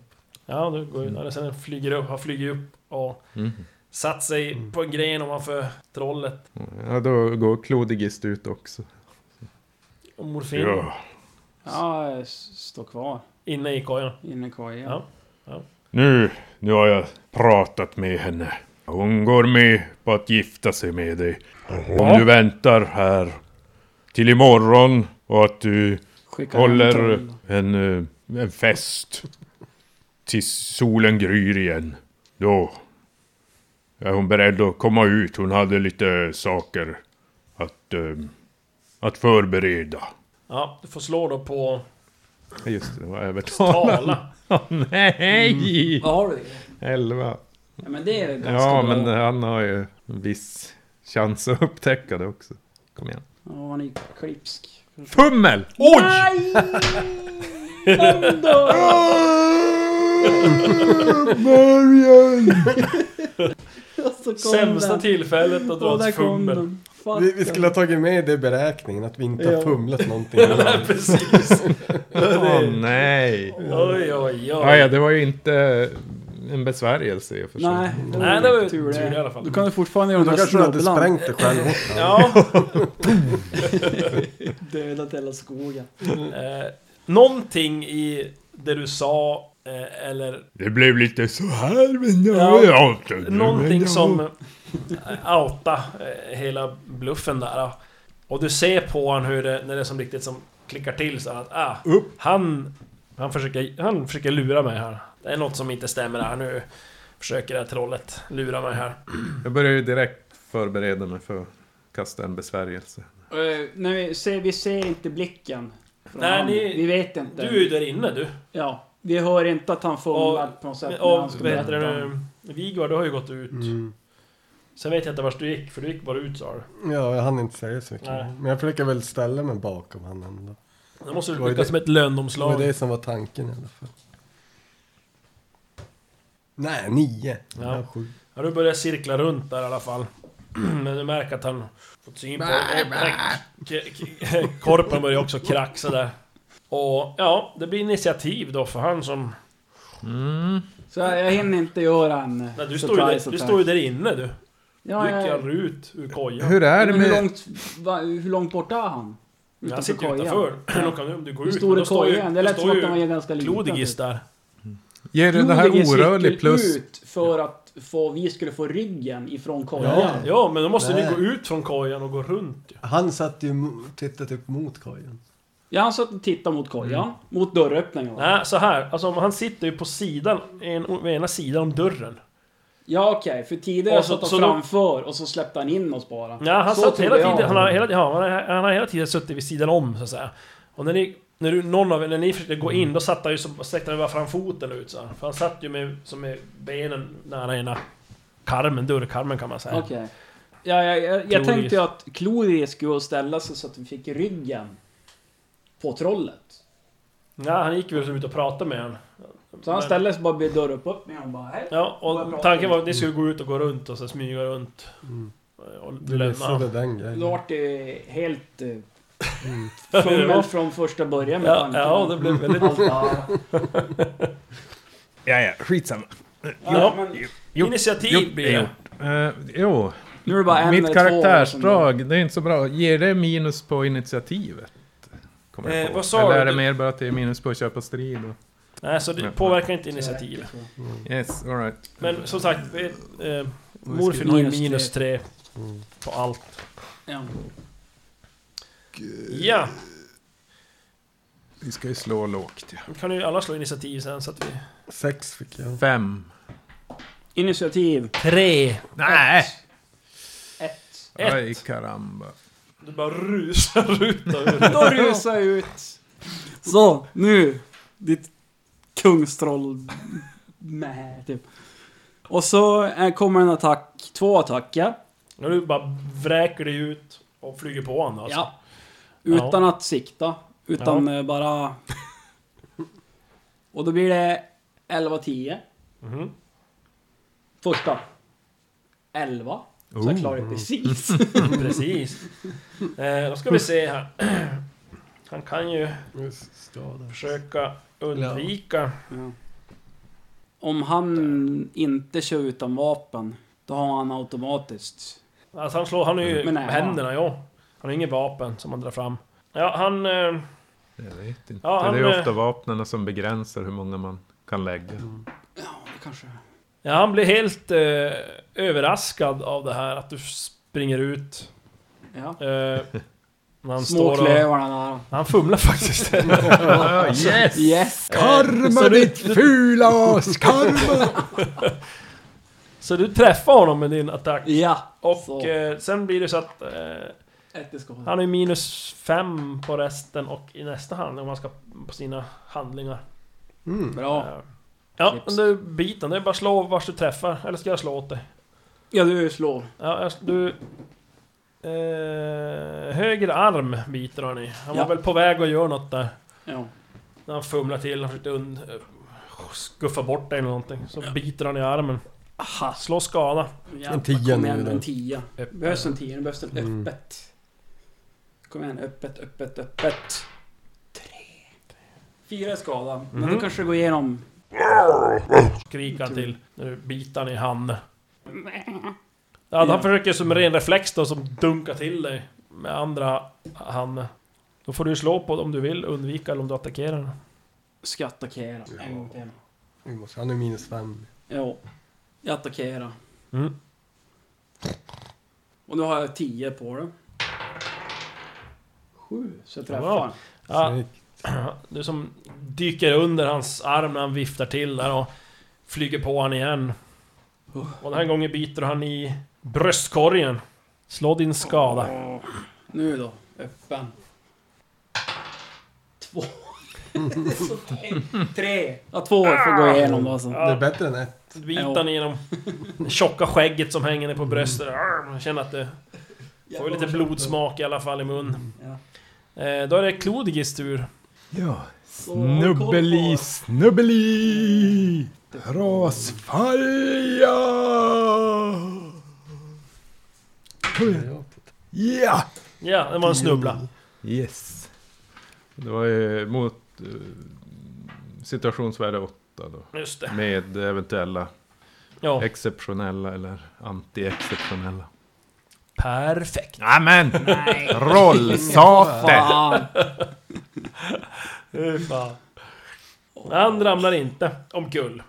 Speaker 2: Ja, du går ut. Ja, sen den flyger upp, har flugit upp och
Speaker 4: Mm.
Speaker 2: satt sig på en gren ovanför trollet.
Speaker 4: Ja, då går Klodigist ut också.
Speaker 2: Och morfin
Speaker 5: Ja, jag s- står kvar.
Speaker 2: inne i kojan.
Speaker 5: Inne kvar igen.
Speaker 2: Ja.
Speaker 4: Nu, nu har jag pratat med henne. Hon går med på att gifta sig med dig. Om du väntar här till imorgon och att du
Speaker 5: Skickar
Speaker 4: håller
Speaker 5: hem
Speaker 4: en, eh, en fest tills solen gryr igen. Då är hon beredd att komma ut. Hon hade lite saker att, eh, att förbereda.
Speaker 2: Ja, du får slå då på
Speaker 4: Just det, det var
Speaker 2: tala.
Speaker 4: nej!
Speaker 5: Vad har du?
Speaker 4: Elva.
Speaker 5: Ja, men det är väl ganska bra.
Speaker 4: Ja, men
Speaker 6: eh.
Speaker 4: han har ju en viss chans att upptäcka det också. Kom igen.
Speaker 5: Ja, han är ju klipsk.
Speaker 4: Fummel!
Speaker 5: Oj! Kom då!
Speaker 3: Början!
Speaker 5: Och så kom
Speaker 2: Sämsta
Speaker 5: den.
Speaker 2: tillfället att
Speaker 5: Och
Speaker 2: dra
Speaker 5: där
Speaker 2: ett
Speaker 5: kom
Speaker 2: fummel.
Speaker 5: den. Fan.
Speaker 6: Vi, vi skulle ha tagit med det i beräkningen, att vi inte
Speaker 5: Ja.
Speaker 6: har fumlat någonting.
Speaker 2: Nej, precis.
Speaker 4: Åh nej!
Speaker 2: Oj, oj,
Speaker 4: Ja, ja,
Speaker 2: oj.
Speaker 4: det var ju inte en besvärjelse i och för sig.
Speaker 5: Nej,
Speaker 2: Nej, det var ju
Speaker 5: tur det.
Speaker 2: tur i alla fall.
Speaker 5: Då kan du fortfarande göra
Speaker 6: Då
Speaker 5: den där
Speaker 6: kanske du hade
Speaker 5: snubblan.
Speaker 6: sprängt dig själv också.
Speaker 2: Ja.
Speaker 5: Dödat hela skogen.
Speaker 2: Eh, någonting i det du sa eh, eller
Speaker 4: Det blev lite så här, men nu
Speaker 2: Ja.
Speaker 4: är jag inte...
Speaker 2: någonting som eh, outa eh, hela bluffen där. ja. Och du ser på honom hur det, när det är som riktigt som klickar till så att ah, han, han, försöker, han försöker lura mig här. Det är något som inte stämmer här nu. Försöker det här trollet lura mig här.
Speaker 4: Jag börjar ju direkt förbereda mig för att kasta en besvärjelse.
Speaker 5: Eh, nej, vi ser, vi ser inte blicken. från
Speaker 2: Nej,
Speaker 5: han.
Speaker 2: ni-
Speaker 5: vi vet inte.
Speaker 2: Du är ju där inne du.
Speaker 5: Ja, vi hör inte att han fumlar
Speaker 2: Och-
Speaker 5: på något sätt. när
Speaker 2: Och
Speaker 5: han ska
Speaker 2: vad heter det
Speaker 5: berätta.
Speaker 2: nu? Vigor, du har ju gått ut.
Speaker 6: Mm.
Speaker 2: Sen vet jag inte vart du gick, för du gick bara ut sa du.
Speaker 6: Ja, jag hann inte säga så mycket.
Speaker 2: Nej.
Speaker 6: Men jag försöker väl ställa mig bakom han ändå.
Speaker 2: Då måste du
Speaker 6: Vad är
Speaker 2: lyckas
Speaker 6: det?
Speaker 2: som ett
Speaker 6: Det var
Speaker 2: lönnomslag.
Speaker 6: det som var tanken i alla fall. Nej, nio.
Speaker 2: Ja.
Speaker 6: Ja. sju.
Speaker 2: Ja, du börjar cirkla runt där i alla fall. Men du märker att han fått syn på... och- k- k- Korpen börjar också kraxa där. Och ja, det blir initiativ då för han som...
Speaker 5: Så jag, jag hinner inte göra en eh,
Speaker 2: Nej, du, står ju
Speaker 5: surprise
Speaker 2: där, du
Speaker 5: attack.
Speaker 2: står ju där inne du.
Speaker 5: ja,
Speaker 2: Du
Speaker 5: ja,
Speaker 2: gick
Speaker 5: ja.
Speaker 2: aldrig ut ur kojan.
Speaker 4: Hur är det
Speaker 5: Men hur
Speaker 4: med...
Speaker 5: långt, va, hur långt borta är han?
Speaker 2: Han sitter ju utanför. Hur långt kan du- om du går
Speaker 5: Hur
Speaker 2: ut?
Speaker 5: stor
Speaker 2: Men
Speaker 5: är
Speaker 2: då står ju-
Speaker 5: kojan? Det
Speaker 2: då
Speaker 5: lät som
Speaker 2: står
Speaker 5: att
Speaker 2: ju
Speaker 5: den var ganska liten.
Speaker 2: Klodigis där.
Speaker 4: Ger det här
Speaker 5: Klodigis
Speaker 4: orörlig
Speaker 5: gick
Speaker 4: plus...
Speaker 5: ut för att få, vi skulle få ryggen ifrån kojan.
Speaker 6: Ja.
Speaker 2: Ja, men då måste ni
Speaker 6: Nej.
Speaker 2: gå ut från kojan och gå runt ju.
Speaker 6: Han satt ju mo- tittade typ mot kojen.
Speaker 5: Ja, han satt och tittade mot kojan.
Speaker 2: Mm.
Speaker 5: Mot dörröppningen. va?
Speaker 2: Nej, så här. Alltså om han sitter ju på sidan, en, vid ena sidan om dörren.
Speaker 5: Ja, okej. För tidigare
Speaker 2: Och så-
Speaker 5: satt han
Speaker 2: så då-
Speaker 5: framför och så släppte han in oss bara.
Speaker 2: Ja, han,
Speaker 5: Så
Speaker 2: satt
Speaker 5: trodde
Speaker 2: hela
Speaker 5: jag.
Speaker 2: tiden, han, har hela, ja, han, har, han har hela tiden suttit vid sidan om, så att säga. Och när ni, när du, någon av er, när ni försökte gå in, då satt han ju som, sträckte han bara fram foten ut så här. För han satt ju med, som med benen nära ena karmen, dörrkarmen kan man säga.
Speaker 5: Okej. Ja, ja, jag, jag
Speaker 2: Kloris.
Speaker 5: tänkte ju att Kloris skulle ställa sig så att vi fick ryggen på trollet.
Speaker 2: Ja, han gick väl som ut och pratade med honom.
Speaker 5: Så han
Speaker 2: Men-
Speaker 5: ställde sig bara vid dörröppningen och bara hej.
Speaker 2: Ja,
Speaker 5: Vad bra.
Speaker 2: och tanken var att ni skulle gå ut och gå runt och så smyga runt.
Speaker 5: Mm.
Speaker 2: Och
Speaker 6: Du
Speaker 2: lämna
Speaker 6: missade
Speaker 2: honom.
Speaker 6: den
Speaker 5: Då
Speaker 6: grejen.
Speaker 5: vart det helt eh, fummel från första början med
Speaker 2: Mm. Ja, ja, det blev väldigt...
Speaker 5: Allt där.
Speaker 4: Ja, ja, skitsamma.
Speaker 5: Ja, men
Speaker 4: Jo,
Speaker 2: Initiativ blir det.
Speaker 4: Eh, jo,
Speaker 5: nu är det bara en eller
Speaker 4: mitt
Speaker 5: två som-
Speaker 4: karaktärsdrag, det är inte så bra. Ger det minus på initiativet? Kommer jag
Speaker 2: Eh,
Speaker 4: på.
Speaker 2: vad sa
Speaker 4: Eller
Speaker 2: du?
Speaker 4: är det
Speaker 2: Du-
Speaker 4: mer bara att det är minus på att köpa strid? Och...
Speaker 2: Nej, så det
Speaker 4: Nej.
Speaker 2: påverkar inte initiativ.
Speaker 4: Yes, alright.
Speaker 2: Men som sagt, det- eh, morfin har ju
Speaker 5: Minus
Speaker 2: minus tre
Speaker 6: Mm.
Speaker 2: på allt.
Speaker 5: Ja.
Speaker 2: Ja,
Speaker 4: Vi ska ju slå lågt.
Speaker 2: då kan ju alla slå initiativ sen så att vi...
Speaker 6: Sex fick jag.
Speaker 4: Fem.
Speaker 5: Initiativ.
Speaker 2: Tre!
Speaker 4: Nej!
Speaker 5: Ett.
Speaker 2: Ett.
Speaker 4: Aj, karamba.
Speaker 2: Du bara rusar ut av
Speaker 5: Då rusar jag ut. Så, nu. Ditt kungstroll. Mäh, typ. Och så eh, kommer en attack. Två attacker.
Speaker 2: Nu du bara vräker dig ut och flyger på honom alltså.
Speaker 5: Ja. Utan att sikta. Utan eh, bara... Och då blir det 11-10.
Speaker 2: Mhm.
Speaker 5: Första. 11. Så jag klarar det precis.
Speaker 2: Precis. Eh, då ska vi se här. Han kan ju
Speaker 6: Skada.
Speaker 2: försöka undvika.
Speaker 5: Ja. Om han inte kör utan vapen, då har han automatiskt...
Speaker 2: Alltså han slår, han är ju
Speaker 5: Men nej,
Speaker 2: med händerna ja. Han har inget vapen som han drar fram. Ja, han... Eh,
Speaker 4: Jag vet inte.
Speaker 2: Ja, han,
Speaker 4: det är ju
Speaker 2: eh,
Speaker 4: ofta vapnen som begränsar hur många man kan lägga.
Speaker 5: Ja, det kanske...
Speaker 2: Ja, han blir helt eh, överraskad av det här att du springer ut.
Speaker 5: Ja.
Speaker 2: Eh, när han står och...
Speaker 5: Småklövarna där.
Speaker 2: Han fumlar faktiskt. alltså.
Speaker 4: Ah, yes!
Speaker 5: Yes!
Speaker 2: Eh, så,
Speaker 3: Karma
Speaker 2: du,
Speaker 3: ditt fula as! Karma!
Speaker 2: så du träffar honom med din attack.
Speaker 5: Ja!
Speaker 2: Och
Speaker 5: så.
Speaker 2: eh, sen blir det så att eh,
Speaker 5: Ett i skada.
Speaker 2: han är minus fem på resten och i nästa handling om han ska på sina handlingar.
Speaker 6: Mm.
Speaker 5: Bra.
Speaker 2: Eh, Ja,
Speaker 5: Clips.
Speaker 2: men du biten. Det är bara slå vars du träffar. Eller ska jag slå åt dig?
Speaker 5: Ja, du slår.
Speaker 2: Ja, jag- du... Eh, höger arm biter han i. Han
Speaker 5: Ja.
Speaker 2: var väl på väg att göra något där.
Speaker 5: Ja.
Speaker 2: När han fumlar till, han försökte und... eh, skuffa bort dig eller någonting. Så biter han i armen.
Speaker 5: Aha!
Speaker 2: Slå skada.
Speaker 5: Jävlar,
Speaker 6: En tia
Speaker 5: kom
Speaker 6: nu
Speaker 5: igen,
Speaker 6: då.
Speaker 5: en tia.
Speaker 2: Öppet.
Speaker 5: Behövs en tia, nu behövs den
Speaker 6: Mm.
Speaker 5: öppet. Kom igen, öppet, öppet, öppet. Tre. Fyra i skada. Men
Speaker 2: Mhm.
Speaker 5: då kanske det går igenom...
Speaker 2: Skriker han till. När du biter han i handen. Ja, han försöker som ren reflex då, som dunkar till dig. Med andra handen. Då får du slå på om du vill undvika eller om du attackerar.
Speaker 5: Ska attackera. En gång till.
Speaker 6: Vi måste- Han är minus fem.
Speaker 5: Jo. Jag attackerar.
Speaker 2: Mm.
Speaker 5: Och nu har jag 10 på det. 7, så jag träffar.
Speaker 2: Wow. Ja,
Speaker 6: Snyggt.
Speaker 2: du som dyker under hans arm när han viftar till där och flyger på han igen. Och den här gången biter han i bröstkorgen. Slå din skada.
Speaker 5: Nu då, öppen. Två. Så tänk- Tre. Ja, två får gå igenom då alltså.
Speaker 6: Det är bättre än ett.
Speaker 2: Vitan genom det tjocka skägget som hänger ner på bröstet. Arr, Man känner att det får ju lite blodsmak i alla fall i mun.
Speaker 5: Ja.
Speaker 2: Eh, Då är det Klodigis tur.
Speaker 3: Ja,
Speaker 5: Så,
Speaker 3: snubbeli, snubbeli! Rasfalja! Kom igen. Ja!
Speaker 2: Ja, det var en snubbla.
Speaker 3: Yes.
Speaker 4: Det var ju mot eh, situationsvärde 8 då.
Speaker 2: Just det.
Speaker 4: Med eventuella
Speaker 2: Ja,
Speaker 4: exceptionella eller anti-exceptionella.
Speaker 2: perfekt.
Speaker 4: Nämen!
Speaker 5: Nej.
Speaker 4: Rollsate!
Speaker 5: Fan.
Speaker 2: Fy fan. Han ramlar inte omkull.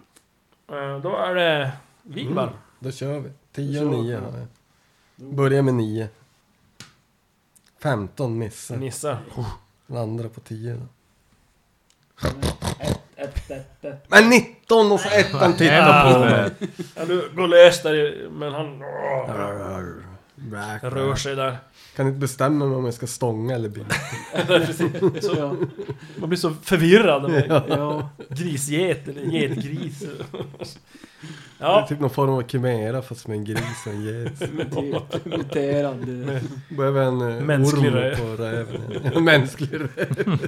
Speaker 2: Eh, Då är det Vigvar.
Speaker 6: Då kör vi. 10
Speaker 5: Då kör
Speaker 6: och
Speaker 5: vi.
Speaker 6: 9 har jag. Börjar med 9. 15 missar.
Speaker 2: Nissa.
Speaker 6: Landar på 10 då.
Speaker 5: Ett, ett, ett, ett.
Speaker 6: Men 19 och så ettan tittar på mig.
Speaker 2: Ja, du går lös där i- men han åh, rör sig där.
Speaker 6: Kan inte bestämma mig om jag ska stånga eller bita.
Speaker 5: Ja.
Speaker 2: Man blir så förvirrad. Med
Speaker 5: ja.
Speaker 2: grisget eller getgris.
Speaker 6: Det är
Speaker 2: Ja,
Speaker 6: typ någon form av kimera fast med en gris och en get.
Speaker 5: mute- Muterad.
Speaker 6: Behöver en eh,
Speaker 2: Mänsklig
Speaker 6: orm
Speaker 2: röv.
Speaker 6: på räven. Mänsklig röv.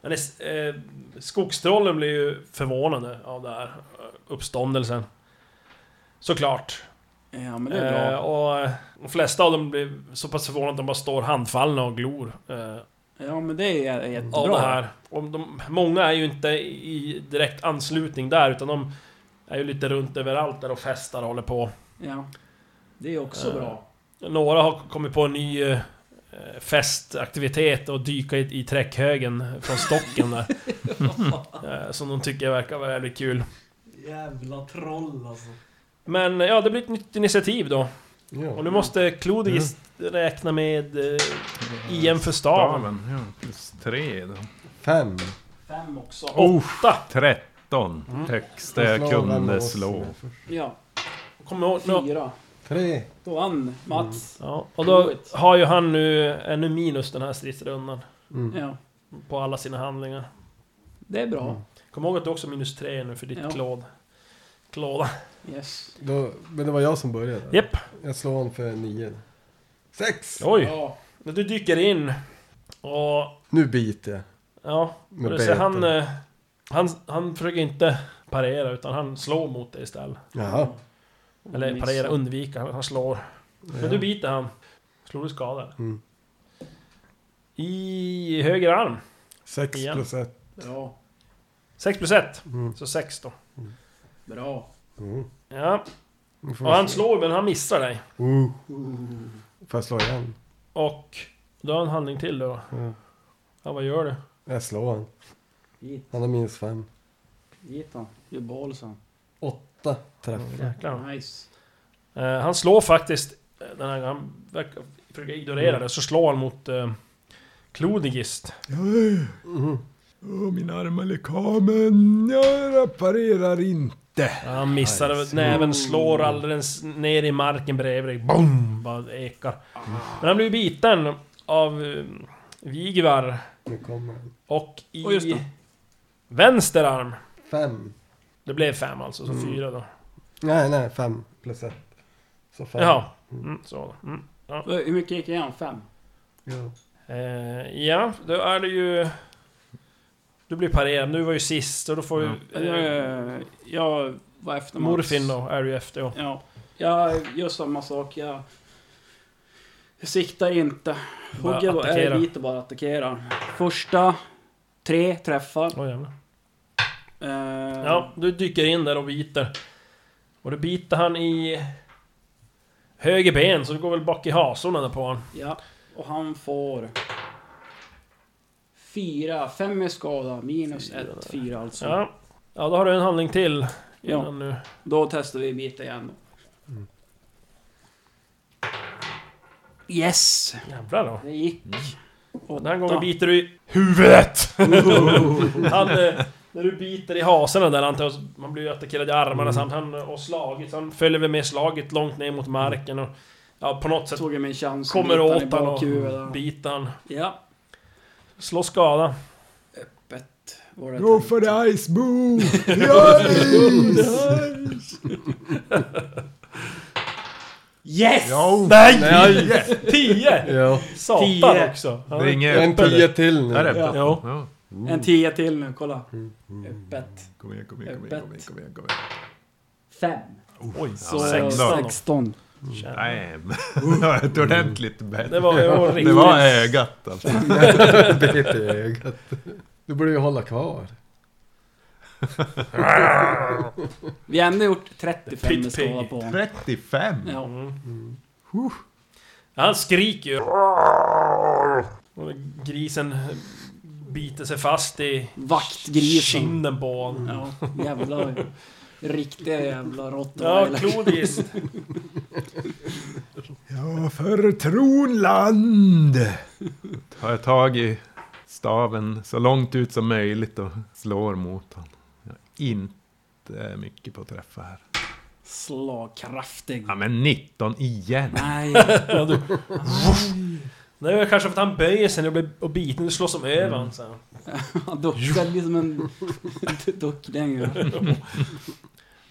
Speaker 2: men det, s- eh, skogstrollen blir ju förvånade av det här eh, uppståndelsen. Såklart.
Speaker 5: Ja, men det är
Speaker 2: Eh,
Speaker 5: bra.
Speaker 2: och eh, de flesta av dem blir så pass förvånade att de bara står handfallna och glor. Eh,
Speaker 5: Ja, men det är
Speaker 2: av det
Speaker 5: jättebra.
Speaker 2: här. Och de, många är ju inte i direkt anslutning där, utan de är ju lite runt överallt där och festar och håller på.
Speaker 5: Ja. Det är också
Speaker 2: Eh,
Speaker 5: bra.
Speaker 2: Några har kommit på en ny eh, eh, festaktivitet och dyka i, i träckhögen från stocken där. Eh, Som de tycker verkar vara jävligt kul.
Speaker 5: Jävla troll alltså.
Speaker 2: Men ja, det blir ett nytt initiativ då. Och nu
Speaker 6: Ja.
Speaker 2: måste Clodigis
Speaker 5: Mm.
Speaker 2: räkna med eh, IM för staven.
Speaker 4: Staven, ja. Plus tre då.
Speaker 6: Fem.
Speaker 5: Fem också.
Speaker 2: Åtta!
Speaker 4: 13. Högsta
Speaker 6: Slå
Speaker 4: jag
Speaker 6: vem av
Speaker 4: Mm. kunde
Speaker 6: oss
Speaker 4: slå.
Speaker 6: som är först.
Speaker 5: Ja,
Speaker 2: Kom ihåg nu.
Speaker 5: fyra.
Speaker 6: Tre.
Speaker 5: Då vann Mats.
Speaker 2: Ja, och då har ju han nu ännu minus den här stridsrundan.
Speaker 6: Mm.
Speaker 5: Ja,
Speaker 2: På alla sina handlingar.
Speaker 5: det är bra.
Speaker 2: Kom ihåg att du också har minus tre nu för ditt
Speaker 5: Ja.
Speaker 2: klåd. Klåda.
Speaker 5: Yes.
Speaker 6: Då, men det var jag som började.
Speaker 2: Japp.
Speaker 6: Jag slår honom för nio. Sex!
Speaker 2: Oj!
Speaker 5: Ja.
Speaker 2: När du dyker in och...
Speaker 6: Nu biter jag.
Speaker 2: Ja, och
Speaker 6: Med
Speaker 2: du ser han,
Speaker 6: beten.
Speaker 2: eh, han... Han försöker inte parera utan han slår mot dig istället.
Speaker 6: Jaha.
Speaker 2: Eller
Speaker 5: Missa.
Speaker 2: parera, undvika, han han slår. Men du biter han. Slår du skada?
Speaker 6: Mm.
Speaker 2: I höger arm.
Speaker 6: Sex
Speaker 2: igen.
Speaker 6: plus ett.
Speaker 5: Bra.
Speaker 2: 6 plus 1.
Speaker 6: Mm.
Speaker 2: Så 6 då.
Speaker 5: Bra.
Speaker 6: Mm.
Speaker 2: Ja,
Speaker 6: Nu får
Speaker 2: och
Speaker 6: vi
Speaker 2: han
Speaker 6: se.
Speaker 2: slår men han missar dig.
Speaker 6: Oh. Får jag slå igen?
Speaker 2: Och då har han en handling till då.
Speaker 6: Ja.
Speaker 2: Ja, vad gör du?
Speaker 6: Jag slår honom.
Speaker 5: Hit,
Speaker 6: Han har minus fem.
Speaker 5: hit han. Gör boll sen.
Speaker 6: Åtta träffar.
Speaker 2: Jäklar.
Speaker 5: Nice.
Speaker 2: Eh, han slår faktiskt... eh, Den här, han verkar försöka ignorera det, så slår han mot eh, Klodigist.
Speaker 6: Mm.
Speaker 3: Mm-hmm. Åh, min arm är lekamen. Jag reparerar inte.
Speaker 2: Ja, han missar nice. näven, slår alldeles ner i marken bredvid dig. Boom! Bara ekar. Men han blir biten av eh, Vigvar
Speaker 6: Nu kommer han.
Speaker 2: och i
Speaker 5: Och just det.
Speaker 2: vänster arm.
Speaker 6: Fem.
Speaker 2: Det blev fem alltså,
Speaker 6: Mm.
Speaker 2: så fyra då.
Speaker 6: Nej, nej, fem plus ett. Så fem.
Speaker 2: Jaha. Mm, så. Mm.
Speaker 5: Hur mycket gick jag? Fem?
Speaker 6: Ja.
Speaker 2: Eh, ja, då är det ju... Du blir parerad, du var ju sist och då får ju... Eh,
Speaker 5: Jag, jag var efter Mats.
Speaker 2: Morfin då, är du ju efter ja.
Speaker 5: Ja. Jag gör samma sak. Jag siktar inte.
Speaker 2: Bara
Speaker 5: Hugger bara,
Speaker 2: attackera.
Speaker 5: är dit och bara attackerar. Första tre träffar.
Speaker 2: Oj, jävlar.
Speaker 5: Eh,
Speaker 2: ja, du dyker in där och biter. Och då biter han i... Höger ben, så det går väl bak i hasorna där på han.
Speaker 5: ja. Och han får... Fyra, fem är skada, minus ett, fyra alltså.
Speaker 2: Ja. Ja, då har du en handling till.
Speaker 5: Ja.
Speaker 2: innan Nu.
Speaker 5: Då testar vi bita igen då.
Speaker 3: Mm.
Speaker 5: Yes!
Speaker 2: Jävlar då.
Speaker 5: Det gick.
Speaker 2: Den här gången
Speaker 5: Åtta.
Speaker 2: biter du i huvudet! han, eh, när du biter i hasorna där antar jag, man blir ju attackerad i armarna samt han eh, och slaget, så han följer väl med slaget långt ner mot marken och... Ja, på något sätt
Speaker 5: Tog jag min chans.
Speaker 2: kommer
Speaker 5: Bitar i
Speaker 2: åt Mm. han
Speaker 5: bakhuvudet.
Speaker 2: och biter han.
Speaker 5: Ja,
Speaker 2: Slå skada.
Speaker 5: öppet var det.
Speaker 3: Go
Speaker 5: tänkt.
Speaker 3: for the ice boom! Ja,
Speaker 5: Yes!
Speaker 4: Ja,
Speaker 2: Nej!
Speaker 6: Nej!
Speaker 2: Tio!
Speaker 6: Ja.
Speaker 2: Satan
Speaker 5: Tio.
Speaker 2: också! Ja.
Speaker 4: det är inget
Speaker 6: En
Speaker 4: öppet.
Speaker 6: tio till nu.
Speaker 4: Är det öppet?
Speaker 2: Ja.
Speaker 4: Ja.
Speaker 5: En tia till nu, kolla.
Speaker 3: Mm,
Speaker 5: Öppet.
Speaker 4: Kom igen, kom igen, kom igen, kom igen, kom igen, kom igen.
Speaker 5: Fem.
Speaker 2: Oj,
Speaker 5: Så
Speaker 2: sexton då.
Speaker 5: 16.
Speaker 2: Mm.
Speaker 4: Nej, men det var ett ordentligt bett.
Speaker 2: Det var, det var
Speaker 4: Det
Speaker 2: riktigt...
Speaker 4: var ögat alltså.
Speaker 6: Bet i ögat. Du borde ju hålla kvar.
Speaker 5: Vi har ändå gjort 35
Speaker 2: Pit
Speaker 5: med skada
Speaker 2: pig.
Speaker 5: på honom.
Speaker 4: 35!
Speaker 5: Ja.
Speaker 2: Mm. Han skriker ju. Och grisen biter sig fast i
Speaker 5: Vaktgrisen.
Speaker 2: kinden på honom.
Speaker 5: Ja, jävla... Riktiga jävla råttor.
Speaker 2: Ja,
Speaker 5: eller?
Speaker 2: Clodis.
Speaker 3: ja för Tronland!
Speaker 4: Tar jag tag i staven så långt ut som möjligt och slår mot honom. Jag har inte mycket på att träffa här.
Speaker 5: Slagkraftig.
Speaker 4: Ja men 19 igen!
Speaker 5: Nej.
Speaker 2: Ja, du. Det är väl kanske för att han böjer sig när det blir och biten, du slår som över honom sen.
Speaker 5: Han duckade liksom en duckdänga.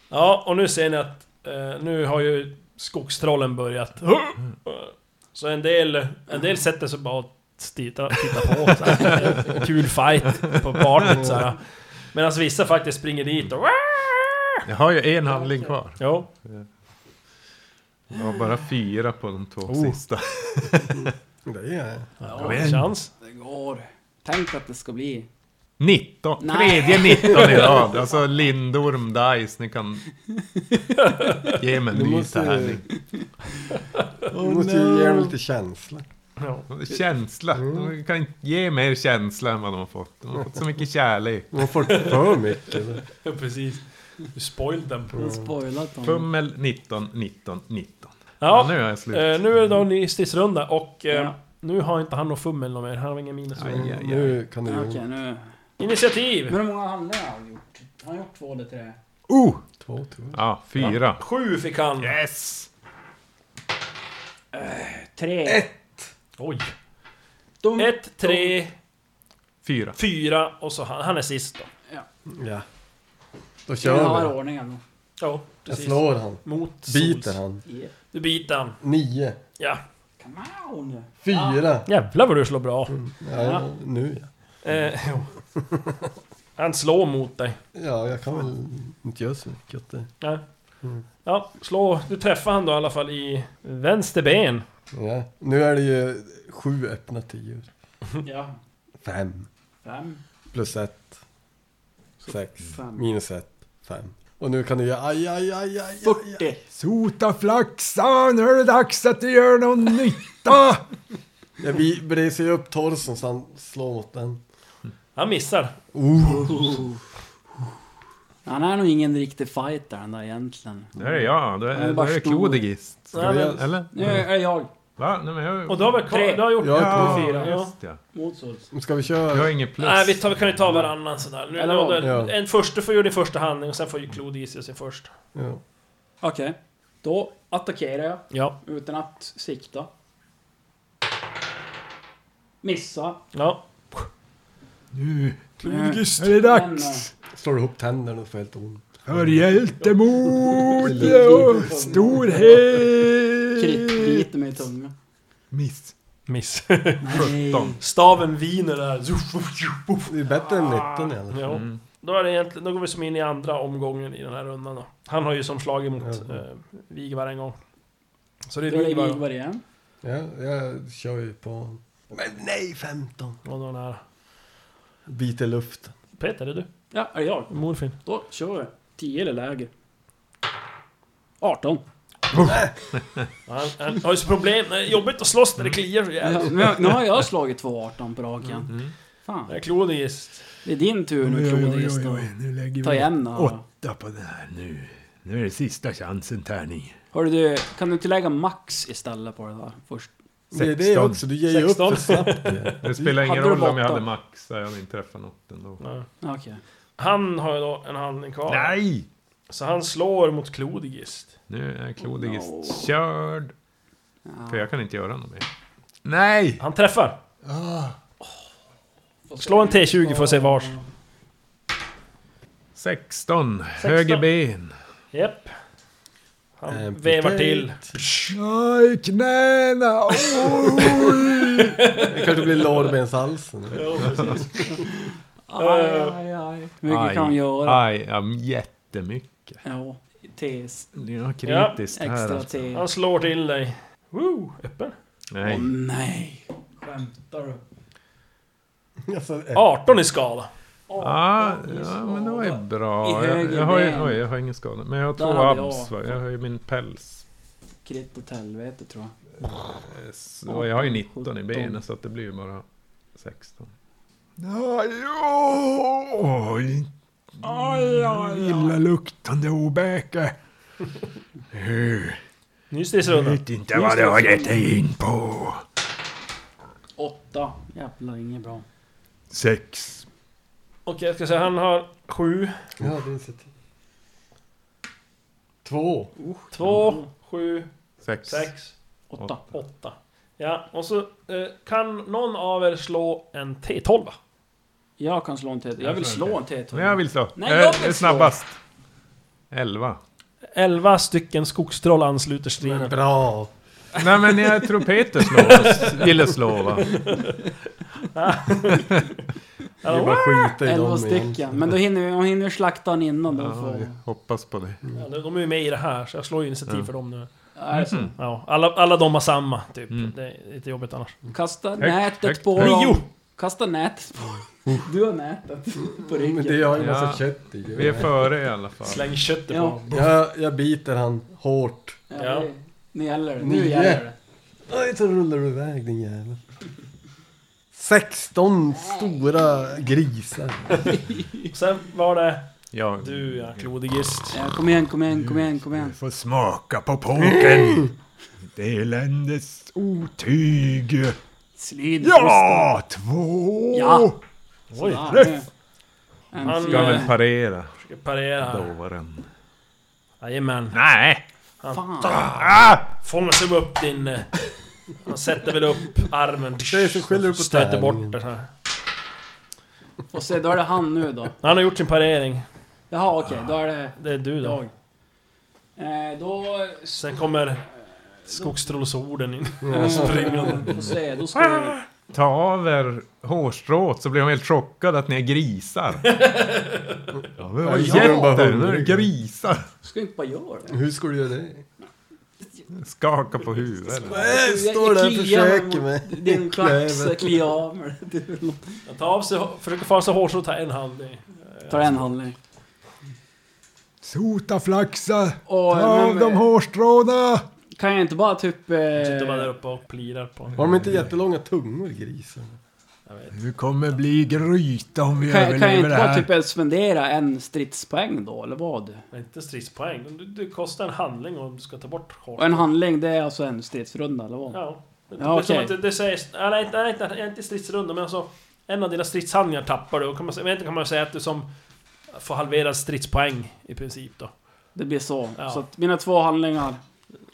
Speaker 2: Ja, och nu ser ni att eh, nu har ju skogstrollen börjat. Så en del, en del sätter sig bara och titta, titta på. Så här. Kul fight på partyt så här. Medan vissa faktiskt springer dit och...
Speaker 4: Jag har ju en handling kvar.
Speaker 2: Jo.
Speaker 4: Jag har bara fyra på de två
Speaker 7: Oh.
Speaker 4: sista.
Speaker 6: Det är
Speaker 2: Ja, chans.
Speaker 5: Det går. Tänk att det ska bli.
Speaker 4: 19!
Speaker 5: Nej.
Speaker 4: Tredje 19 i rad! Alltså Lindorm Dice, ni kan... Ge mig en
Speaker 6: Du
Speaker 4: ny
Speaker 6: måste-
Speaker 4: tärning.
Speaker 6: Du måste ju ge dem lite känsla.
Speaker 2: Ja.
Speaker 7: Känsla.
Speaker 4: Mm.
Speaker 7: De kan inte ge mer känsla än vad de har fått. De har fått så mycket kärlek.
Speaker 6: Man får för mycket.
Speaker 2: Ja, precis. Du spoiled den.
Speaker 5: Den spoilat dem.
Speaker 7: Fummel 19, 19, 19. Ja,
Speaker 2: Ja,
Speaker 7: nu är jag slut.
Speaker 2: eh, nu är det då en ny stridsrunda och eh,
Speaker 5: Ja.
Speaker 2: nu har inte han något fummel något mer. Han har ingen minus.
Speaker 7: Aj, aj, aj.
Speaker 6: Nu kan det
Speaker 5: Okej,
Speaker 6: ju...
Speaker 5: nu... Men
Speaker 2: Initiativ!
Speaker 5: hur många handlingar har han gjort? Har han gjort två eller tre?
Speaker 7: Oh!
Speaker 6: Två, tror jag.
Speaker 7: Ja, fyra.
Speaker 2: Sju fick han.
Speaker 7: Yes!
Speaker 5: Tre.
Speaker 2: Oj.
Speaker 5: De,
Speaker 2: Ett, tre,
Speaker 7: Fyra.
Speaker 2: fyra och så han. Han är sist då.
Speaker 6: Ja. Då
Speaker 5: Kör vi.
Speaker 6: kör
Speaker 5: har
Speaker 6: vi.
Speaker 5: ordningen.
Speaker 2: Ja,
Speaker 6: Jag
Speaker 2: precis.
Speaker 6: slår han.
Speaker 2: Mot sols.
Speaker 6: Biter han.
Speaker 5: Yeah.
Speaker 2: Du biter han.
Speaker 6: Nio.
Speaker 2: Ja.
Speaker 5: Come on!
Speaker 6: Fyra.
Speaker 2: Jävlar vad du slår bra.
Speaker 6: Ja, nu ja.
Speaker 2: Eh, jo. Han slår mot dig.
Speaker 6: Ja, jag kan väl inte göra så mycket åt det.
Speaker 2: Nej. Ja, slå. Du träffar han då i alla fall i vänster ben.
Speaker 6: Ja. Nu är det ju sju öppna tior.
Speaker 5: Ja.
Speaker 6: Fem.
Speaker 5: Fem.
Speaker 6: Plus ett. Sex.
Speaker 5: Fem.
Speaker 6: Minus ett. Fem. Och nu kan du göra aj, aj, aj, aj, aj, aj.
Speaker 5: Fyrtio.
Speaker 3: Sota flaxa, nu är det dags att du gör någon nytta!
Speaker 5: Ah!
Speaker 6: Jag vi- bresar ju upp torson så han slår mot den.
Speaker 2: Han missar.
Speaker 5: Han är nog ingen riktig fighter han där egentligen.
Speaker 7: Nu är det jag. Då
Speaker 5: Ja,
Speaker 7: är,
Speaker 5: det
Speaker 7: då
Speaker 5: bara
Speaker 7: är det
Speaker 5: stor.
Speaker 7: Klodigist.
Speaker 2: Nej, men,
Speaker 7: Eller?
Speaker 5: Nu är det jag.
Speaker 7: Va? Nej, men jag...
Speaker 2: och du har väl kvar,
Speaker 5: Tre.
Speaker 2: Du har gjort
Speaker 6: Jag har
Speaker 2: ja,
Speaker 7: Ja,
Speaker 2: fyra. Ja.
Speaker 7: just ja.
Speaker 5: Mot Sols.
Speaker 6: Ska vi
Speaker 7: Jag har
Speaker 6: köra?
Speaker 7: inget plus.
Speaker 2: Nej, vi tar, vi kan ju ta varannan sådär. Nu,
Speaker 5: Eller
Speaker 2: då-
Speaker 5: vad?
Speaker 6: Ja.
Speaker 2: En första får göra din första handling och sen får ju Claude i sig sin först.
Speaker 6: Ja.
Speaker 5: Okej. Då attackerar jag
Speaker 2: Ja.
Speaker 5: utan att sikta. Missa.
Speaker 2: Ja.
Speaker 3: Nu
Speaker 5: Klodgist.
Speaker 3: är det dags
Speaker 6: Slår ihop tänderna och får helt ont.
Speaker 3: för hjältemod och storhet!
Speaker 5: Kritbiter eh, mig i tungan.
Speaker 7: Miss.
Speaker 2: Miss.
Speaker 5: Nej.
Speaker 2: Staven viner där. Zuff, zuff, zuff, zuff.
Speaker 6: Det är bättre än 19 i alla fall.
Speaker 2: Ja. Då, är det egentligen, då går vi som in i andra omgången i den här rundan då. Han har ju som slagit mot
Speaker 6: Ja.
Speaker 2: eh, Vigvar en gång. Så det är
Speaker 5: Det är
Speaker 2: Vigvar.
Speaker 5: Vigvar igen.
Speaker 6: Ja, jag kör ju på honom. Men nej, 15!
Speaker 2: Och då den här.
Speaker 6: Biter luften.
Speaker 2: Peter, är det
Speaker 5: Ja, är det jag?
Speaker 2: du? Morfin?
Speaker 5: Då kör vi. 10 eller lägre. 18.
Speaker 2: Ja, Han, han har ju så problem. Det är jobbigt att slåss när det kliar så
Speaker 5: Ja, Mm.
Speaker 2: jävligt.
Speaker 6: Mm.
Speaker 5: men jag- nu har jag slagit två 18 på
Speaker 7: Mm.
Speaker 5: raken.
Speaker 2: Det
Speaker 5: Fan.
Speaker 2: är Klodis.
Speaker 5: Det är din tur nu
Speaker 3: Oj, oj, oj, oj,
Speaker 5: Klodis.
Speaker 3: oj, nu lägger
Speaker 5: Ta
Speaker 3: vi
Speaker 5: igen då.
Speaker 3: åtta på det här nu. Nu är det sista chansen, tärning.
Speaker 5: Hörru du, kan du inte lägga max istället på det där först?
Speaker 6: Det är det
Speaker 7: 16.
Speaker 6: också, du ger ju upp för snabbt. ju.
Speaker 7: Det spelar ingen
Speaker 5: Hade du
Speaker 7: roll om jag
Speaker 5: botten?
Speaker 7: hade max. så Jag hade inte träffat något ändå.
Speaker 2: Ja.
Speaker 5: Okej.
Speaker 2: Han har ju då en handling kvar.
Speaker 7: Nej!
Speaker 2: Så han slår mot Klodigist.
Speaker 7: Nu är Klodigist
Speaker 5: No.
Speaker 7: körd. För jag kan inte göra något mer. Nej!
Speaker 2: Han träffar. Slå en T20 för att se vars.
Speaker 7: 16. Höger ben.
Speaker 2: Japp. Han
Speaker 6: Eh,
Speaker 2: vevar
Speaker 6: okej.
Speaker 2: till.
Speaker 3: Aj, knäna! Oj!
Speaker 6: Det kanske blir lårbenshalsen.
Speaker 5: Aj, aj, aj. Hur mycket
Speaker 7: Aj.
Speaker 5: kan man göra?
Speaker 7: Aj, ja, jättemycket.
Speaker 5: Ja, tes.
Speaker 7: Det är något kritiskt här.
Speaker 5: Extra
Speaker 7: alltså.
Speaker 5: tes.
Speaker 2: Han slår till dig. Woo! Öppen.
Speaker 7: Nej.
Speaker 5: Åh, nej. Skämtar du?
Speaker 6: Alltså, eh,
Speaker 2: 18 i skada.
Speaker 7: Ah, ja, men det var ju bra.
Speaker 5: I
Speaker 7: Jag,
Speaker 5: höger
Speaker 7: jag, har ju,
Speaker 5: ben.
Speaker 7: oj, jag har ingen skada. Men jag har två
Speaker 5: Där hade jag.
Speaker 7: abs va? Jag har ju min päls.
Speaker 5: Kritt åt helvete tror jag.
Speaker 7: Eh, Så, och jag har ju 19 i
Speaker 5: 17.
Speaker 7: benen så att det blir ju bara 16.
Speaker 3: Aj, oj! Illaluktande obekä.
Speaker 2: Ny
Speaker 3: Jag
Speaker 2: stridsrunda.
Speaker 3: vet inte vad du har gett dig in på.
Speaker 5: Åtta. Jävlar, inget bra.
Speaker 3: Sex.
Speaker 2: Okej, jag ska säga han har 7,
Speaker 6: ja, det är
Speaker 5: typ.
Speaker 6: så t- Två.
Speaker 2: 2, 7,
Speaker 7: 6.
Speaker 2: 6,
Speaker 5: Åtta.
Speaker 2: 8. Ja, och så eh, kan någon av er slå en T12. va?
Speaker 5: Jag kan slå en T. Jag vill slå en T.
Speaker 7: Men jag vill slå.
Speaker 5: Nej, jag
Speaker 7: Eh,
Speaker 5: vill
Speaker 7: Snabbast. 11.
Speaker 2: 11 stycken skogstroll ansluter striden.
Speaker 6: Bra.
Speaker 7: Nej men jag tror Peter slår. ville slå va?
Speaker 6: Det är bara att skita i
Speaker 5: Elva
Speaker 6: dem igen.
Speaker 5: stycken. Men då hinner vi, jag hinner slakta den innan de
Speaker 7: Ja,
Speaker 5: får...
Speaker 7: jag hoppas på det.
Speaker 2: Ja, de de är ju med i det här, så jag slår ju initiativ för dem nu.
Speaker 5: Är det så?
Speaker 2: Ja, alla, alla de har samma, typ. Det är lite jobbigt annars.
Speaker 6: Mm.
Speaker 5: Kasta nätet
Speaker 7: högt,
Speaker 5: på
Speaker 7: högt.
Speaker 5: dem.
Speaker 2: Nio!
Speaker 5: Kasta nätet på dem. Du har nätet på
Speaker 6: Mm, Men det
Speaker 5: ryggen.
Speaker 6: har ju en massa
Speaker 7: Ja.
Speaker 6: kött i.
Speaker 7: Vi är före i alla fall.
Speaker 2: Släng köttet på
Speaker 5: Ja.
Speaker 2: dem.
Speaker 6: Jag, jag biter han hårt.
Speaker 5: Ja, det- Nu gäller det. Nu
Speaker 6: Nio.
Speaker 5: gäller det.
Speaker 6: Oj, så rullar du iväg din jävel. 16 stora grisar.
Speaker 2: Sen var det
Speaker 4: Ja,
Speaker 2: du ja, klodigist.
Speaker 5: Ja, kom igen, kom igen, kom igen, kom igen.
Speaker 4: får smaka på påken. Det eländes otyg.
Speaker 5: Slid.
Speaker 4: Ja, två!
Speaker 5: Ja!
Speaker 2: Oj,
Speaker 5: Sådär. En
Speaker 2: Han-
Speaker 5: fyra.
Speaker 7: Ska väl parera,
Speaker 2: ska parera här.
Speaker 7: dovaren.
Speaker 2: Jajamän.
Speaker 4: Nej!
Speaker 5: Fan.
Speaker 2: Fångas du upp din... eh, Han sätter väl upp armen.
Speaker 6: Det är så skiljer du på
Speaker 2: Stöter bort
Speaker 6: tärningen.
Speaker 2: den här.
Speaker 5: Och se, då är det han nu då.
Speaker 2: Han har gjort sin parering.
Speaker 5: Jaha, okej, då är det
Speaker 2: Det är du då.
Speaker 5: jag. Eh, då...
Speaker 2: Sen kommer skogstrolsorden in.
Speaker 5: Eh, får se, då ska
Speaker 2: Ah.
Speaker 5: vi...
Speaker 7: Ta av er hårstrået så blir de helt chockade att ni är grisar. Ja, men vad
Speaker 6: Ja, de bara
Speaker 7: jätter, nu är det
Speaker 6: hungriga.
Speaker 7: grisar.
Speaker 5: Ska inte bara göra det?
Speaker 6: Hur ska du göra det?
Speaker 7: Skaka på huvudet.
Speaker 6: Jag står där och försöker mig.
Speaker 5: Din klax, jag kliar av mig. Det är väl något.
Speaker 2: Han tar av sig, försöker få av sig hårstrået här en hand. i.
Speaker 5: Tar en handling.
Speaker 3: Sota flaxa!
Speaker 5: Och,
Speaker 3: Ta av dem
Speaker 5: men,
Speaker 3: hårstråna!
Speaker 5: kan jag inte bara typ... Eh,
Speaker 2: Sitter bara där uppe och plirar på honom.
Speaker 6: Har de inte jättelånga tungor grisarna?
Speaker 3: Du kommer bli gryta om vi
Speaker 5: kan, kan jag
Speaker 3: överlever
Speaker 5: inte
Speaker 3: det
Speaker 5: bara
Speaker 3: här.
Speaker 5: typ spendera en stridspoäng då, eller vad?
Speaker 2: Men Inte stridspoäng. Det, det kostar en handling om du ska ta bort
Speaker 5: Och en
Speaker 2: hårstrået.
Speaker 5: handling, det är alltså en stridsrunda, eller vad?
Speaker 2: Ja. Det,
Speaker 5: Ja,
Speaker 2: det är som
Speaker 5: okej.
Speaker 2: att det, det sägs... Nej, nej, nej, nej, nej, inte stridsrunda, men alltså... En av dina stridshandlingar tappar du. Och kan man, säga- men inte kan man säga att du som... Får halverad stridspoäng i princip då.
Speaker 5: Det blir så.
Speaker 2: Ja.
Speaker 5: Så att mina två handlingar,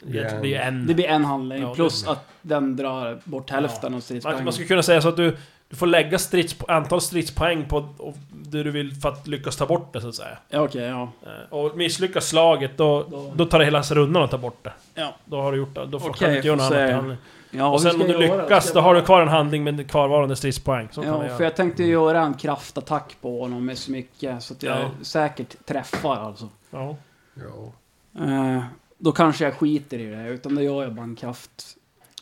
Speaker 2: Det blir en.
Speaker 5: det blir en handling.
Speaker 2: Ja, det-
Speaker 5: plus att den drar bort hälften av
Speaker 2: Man,
Speaker 5: stridspoängen.
Speaker 2: man skulle kunna säga så att du, du får lägga stridspo antal stridspoäng på och det du vill för att lyckas ta bort det så att säga.
Speaker 5: Ja, okej, ja.
Speaker 2: Eh, Och misslyckas slaget då,
Speaker 5: Då-
Speaker 2: då tar det hela rundan att ta bort det.
Speaker 5: Ja.
Speaker 2: Då har du gjort det. Då får
Speaker 5: Okej,
Speaker 2: kan du inte göra
Speaker 5: får
Speaker 2: något
Speaker 5: se.
Speaker 2: annat. handling.
Speaker 5: ja
Speaker 2: och
Speaker 5: hur
Speaker 2: sen
Speaker 5: ska
Speaker 2: om du
Speaker 5: jag göra?
Speaker 2: lyckas,
Speaker 5: Ska
Speaker 2: då
Speaker 5: jag
Speaker 2: har du kvar en handling med kvarvarande stridspoäng. Så kan
Speaker 5: Ja,
Speaker 2: man
Speaker 5: för
Speaker 2: göra.
Speaker 5: jag tänkte ju göra en kraftattack på honom med så mycket så att jag
Speaker 2: Ja.
Speaker 5: säkert träffar alltså.
Speaker 2: Ja.
Speaker 6: Ja.
Speaker 5: Eh, då kanske jag skiter i det, utan då gör jag bara en kraft...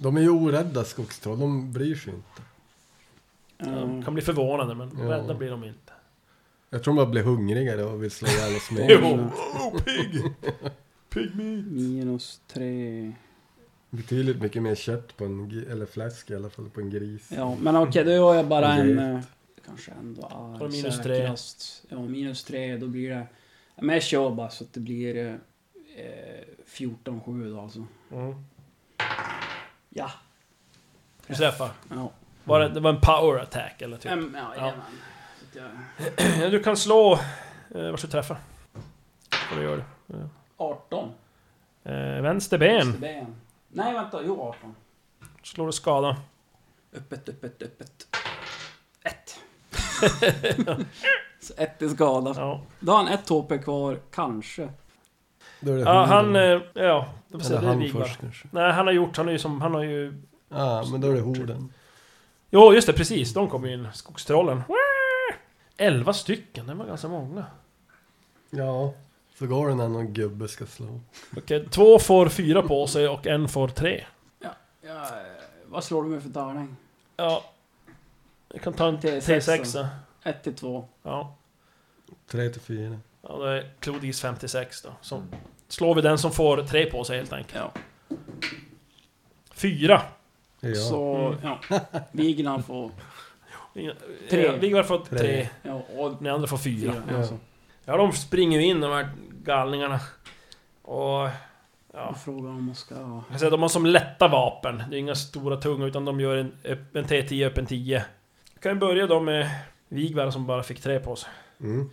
Speaker 6: De är ju orädda skogstroll, de bryr sig inte.
Speaker 5: eh,
Speaker 2: De kan bli förvånade, men
Speaker 6: Ja.
Speaker 2: rädda blir de inte.
Speaker 6: Jag tror de bara blir hungrigare och vill slå ihjäl oss mer.
Speaker 2: Jo.
Speaker 5: Minus tre...
Speaker 6: Betydligt mycket mer kött på en, gri- eller fläsk i alla fall, på en gris.
Speaker 5: Ja, men okej, då gör jag bara
Speaker 6: Okej.
Speaker 5: en... eh, Kanske ändå är
Speaker 2: Och minus tre.
Speaker 5: säkrast. Ja, minus tre, då blir det... Ja, Men jag kör bara så att det blir eh, eh, 14-7 då alltså.
Speaker 2: Mm.
Speaker 5: Ja.
Speaker 2: Du träffar.
Speaker 5: ja.
Speaker 2: Var det, det var en power attack eller typ?
Speaker 5: Mm, ja,
Speaker 2: Ja.
Speaker 5: jajamän. Så att jag...
Speaker 2: Du kan slå... Eh, varsågod träffa. Vad du gör det.
Speaker 5: 18.
Speaker 2: Eh, vänster ben.
Speaker 5: Just det, ben. Nej, vänta. Jo, 18.
Speaker 2: Slår du skada.
Speaker 5: Öppet, öppet, öppet. Ett. så ett är skada.
Speaker 2: Ja.
Speaker 5: Då har han ett HP kvar, kanske.
Speaker 6: Då är det
Speaker 2: ja han...
Speaker 6: horden.
Speaker 2: eh, Ja, det får se,
Speaker 6: Eller
Speaker 2: det är
Speaker 6: han
Speaker 2: Vigvar.
Speaker 6: först kanske.
Speaker 2: Nej, han har gjort... Han har ju som... Han har ju...
Speaker 6: Ja, men då är det horden.
Speaker 2: Jo, just det, precis. De kom ju in. Skogstrollen. Elva stycken, det var ganska många.
Speaker 6: Ja, så går det när någon gubbe ska slå.
Speaker 2: Okej, två får fyra på sig och en får tre.
Speaker 5: Ja, eh, vad slår du med för tärning?
Speaker 2: Ja. Jag kan ta en
Speaker 5: T6.
Speaker 2: T6.
Speaker 5: 1 till 2.
Speaker 2: Ja.
Speaker 6: Tre till fyra.
Speaker 2: ja, då är Clodis 56 då. Så slår vi den som får tre på sig helt enkelt.
Speaker 5: Ja.
Speaker 2: Fyra.
Speaker 6: Det är jag.
Speaker 5: Så, ja. Vignar får... Tre.
Speaker 2: Tre. Vigvar får tre.
Speaker 6: Tre.
Speaker 5: Ja, och
Speaker 2: Ni andra får fyra.
Speaker 5: fyra.
Speaker 6: Ja.
Speaker 5: Alltså.
Speaker 2: Ja, de springer ju in de här galningarna. Och... Ja.
Speaker 5: Och frågar om man ska...
Speaker 2: Jag säger, de har som lätta vapen. Det är inga stora tunga, utan de gör en, öpp- en T10 öppen 10. Jag kan ju börja då med Vigvar som bara fick tre på sig.
Speaker 6: Mm.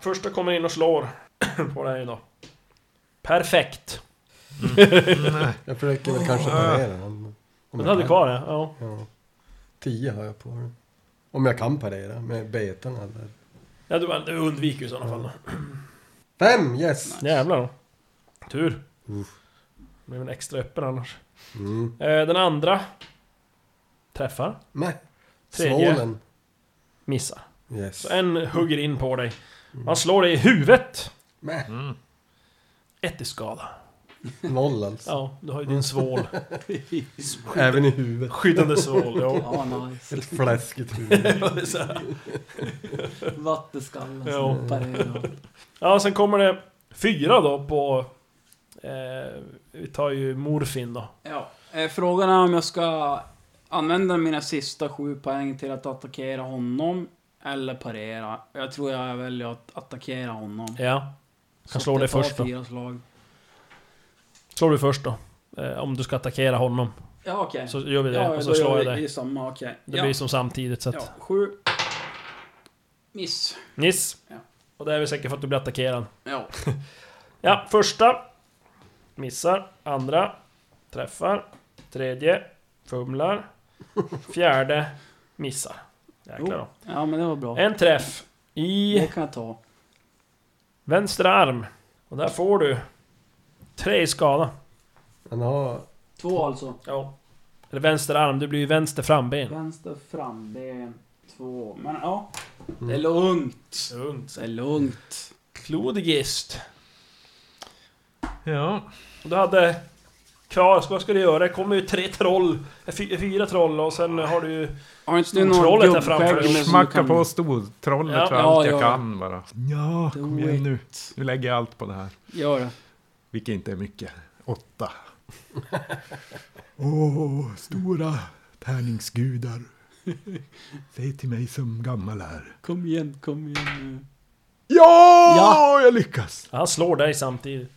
Speaker 2: Första kommer in och slår på dig då. Perfekt!
Speaker 6: Jag försöker väl kanske parera den. men- om
Speaker 2: Ah. Den
Speaker 6: jag
Speaker 2: hade
Speaker 6: kan.
Speaker 2: kvar det, ja.
Speaker 6: Ja. Tio har jag på den. Om jag kan parera med betarna där.
Speaker 2: Ja, du, du undviker ju i sådana fall då.
Speaker 6: Fem, yes!
Speaker 2: Jävlar då. Tur.
Speaker 6: Uff.
Speaker 2: Det blev en extra öppen annars.
Speaker 6: Mm.
Speaker 2: Eh, Den andra... Träffar.
Speaker 6: Nej.
Speaker 2: Tredje.
Speaker 6: Svålen.
Speaker 2: Missar.
Speaker 6: Yes.
Speaker 2: Så en hugger in på dig. Han slår dig i huvudet.
Speaker 6: Mäh.
Speaker 2: Ett i skada.
Speaker 6: Noll alltså.
Speaker 2: Ja, du har ju din svål.
Speaker 6: Även i huvudet.
Speaker 2: Skyddande svål, ja.
Speaker 5: Ja, nice.
Speaker 6: Ett fläskigt huvud.
Speaker 2: Ja, det är så här.
Speaker 5: Vattenskallen som
Speaker 2: Ja.
Speaker 5: hoppar över.
Speaker 2: Ja, sen kommer det fyra då på... Eh, vi tar ju Morfin då.
Speaker 5: Ja. Eh, Frågan är om jag ska använda mina sista sju poäng till att attackera honom eller parera. Jag tror jag väljer att attackera honom.
Speaker 2: Ja.
Speaker 5: Så
Speaker 2: Kan slå
Speaker 5: att
Speaker 2: det
Speaker 5: jag tar
Speaker 2: först då.
Speaker 5: fyra slag.
Speaker 2: Slår du först då. Eh, om du ska attackera honom.
Speaker 5: Ja, okej.
Speaker 2: Så gör vi det,
Speaker 5: Ja,
Speaker 2: och så
Speaker 5: då
Speaker 2: slår
Speaker 5: gör
Speaker 2: jag
Speaker 5: vi
Speaker 2: dig.
Speaker 5: i samma, okej.
Speaker 2: Det
Speaker 5: Ja,
Speaker 2: blir som samtidigt så att...
Speaker 5: ja, sju. Miss.
Speaker 2: Niss!
Speaker 5: Ja.
Speaker 2: Och det är vi säkert för att du blir attackerad.
Speaker 5: Ja.
Speaker 2: Ja, första. Missar. Andra. Träffar. Tredje. Fumlar. Fjärde. Missar. Jäklar då.
Speaker 5: ja, men det var bra.
Speaker 2: En träff. I
Speaker 5: Det kan jag ta.
Speaker 2: vänstra arm. Och där får du... Tre i skada.
Speaker 6: Han har...
Speaker 5: Två alltså.
Speaker 2: Ja. Eller vänster arm, du blir ju vänster framben.
Speaker 5: Vänster framben. Två. Men ja.
Speaker 2: Mm.
Speaker 5: Det är lugnt.
Speaker 2: Lugnt.
Speaker 5: Det är lugnt.
Speaker 2: Klodigist.
Speaker 3: Ja.
Speaker 2: Och du hade kvar, så vad ska du göra? Det kommer ju tre troll, fy- fyra troll och sen har du ju...
Speaker 5: Har inte du någon
Speaker 2: Trollet där framför
Speaker 5: gubbskägg
Speaker 2: dig.
Speaker 5: med som du
Speaker 3: Smacka
Speaker 5: kan-
Speaker 3: på stortrollet
Speaker 2: Ja,
Speaker 3: för
Speaker 5: ja,
Speaker 3: allt jag
Speaker 5: ja.
Speaker 3: kan bara. Ja,
Speaker 5: Do
Speaker 3: kom igen nu.
Speaker 5: it.
Speaker 3: Nu lägger jag allt på det här.
Speaker 5: Gör det.
Speaker 3: Vilket inte är mycket. Åtta. Åh, stora tärningsgudar. Säg till mig som gammal här.
Speaker 5: Kom igen, kom igen nu.
Speaker 3: Ja,
Speaker 5: Ja!
Speaker 3: jag lyckas!
Speaker 2: Han slår dig samtidigt.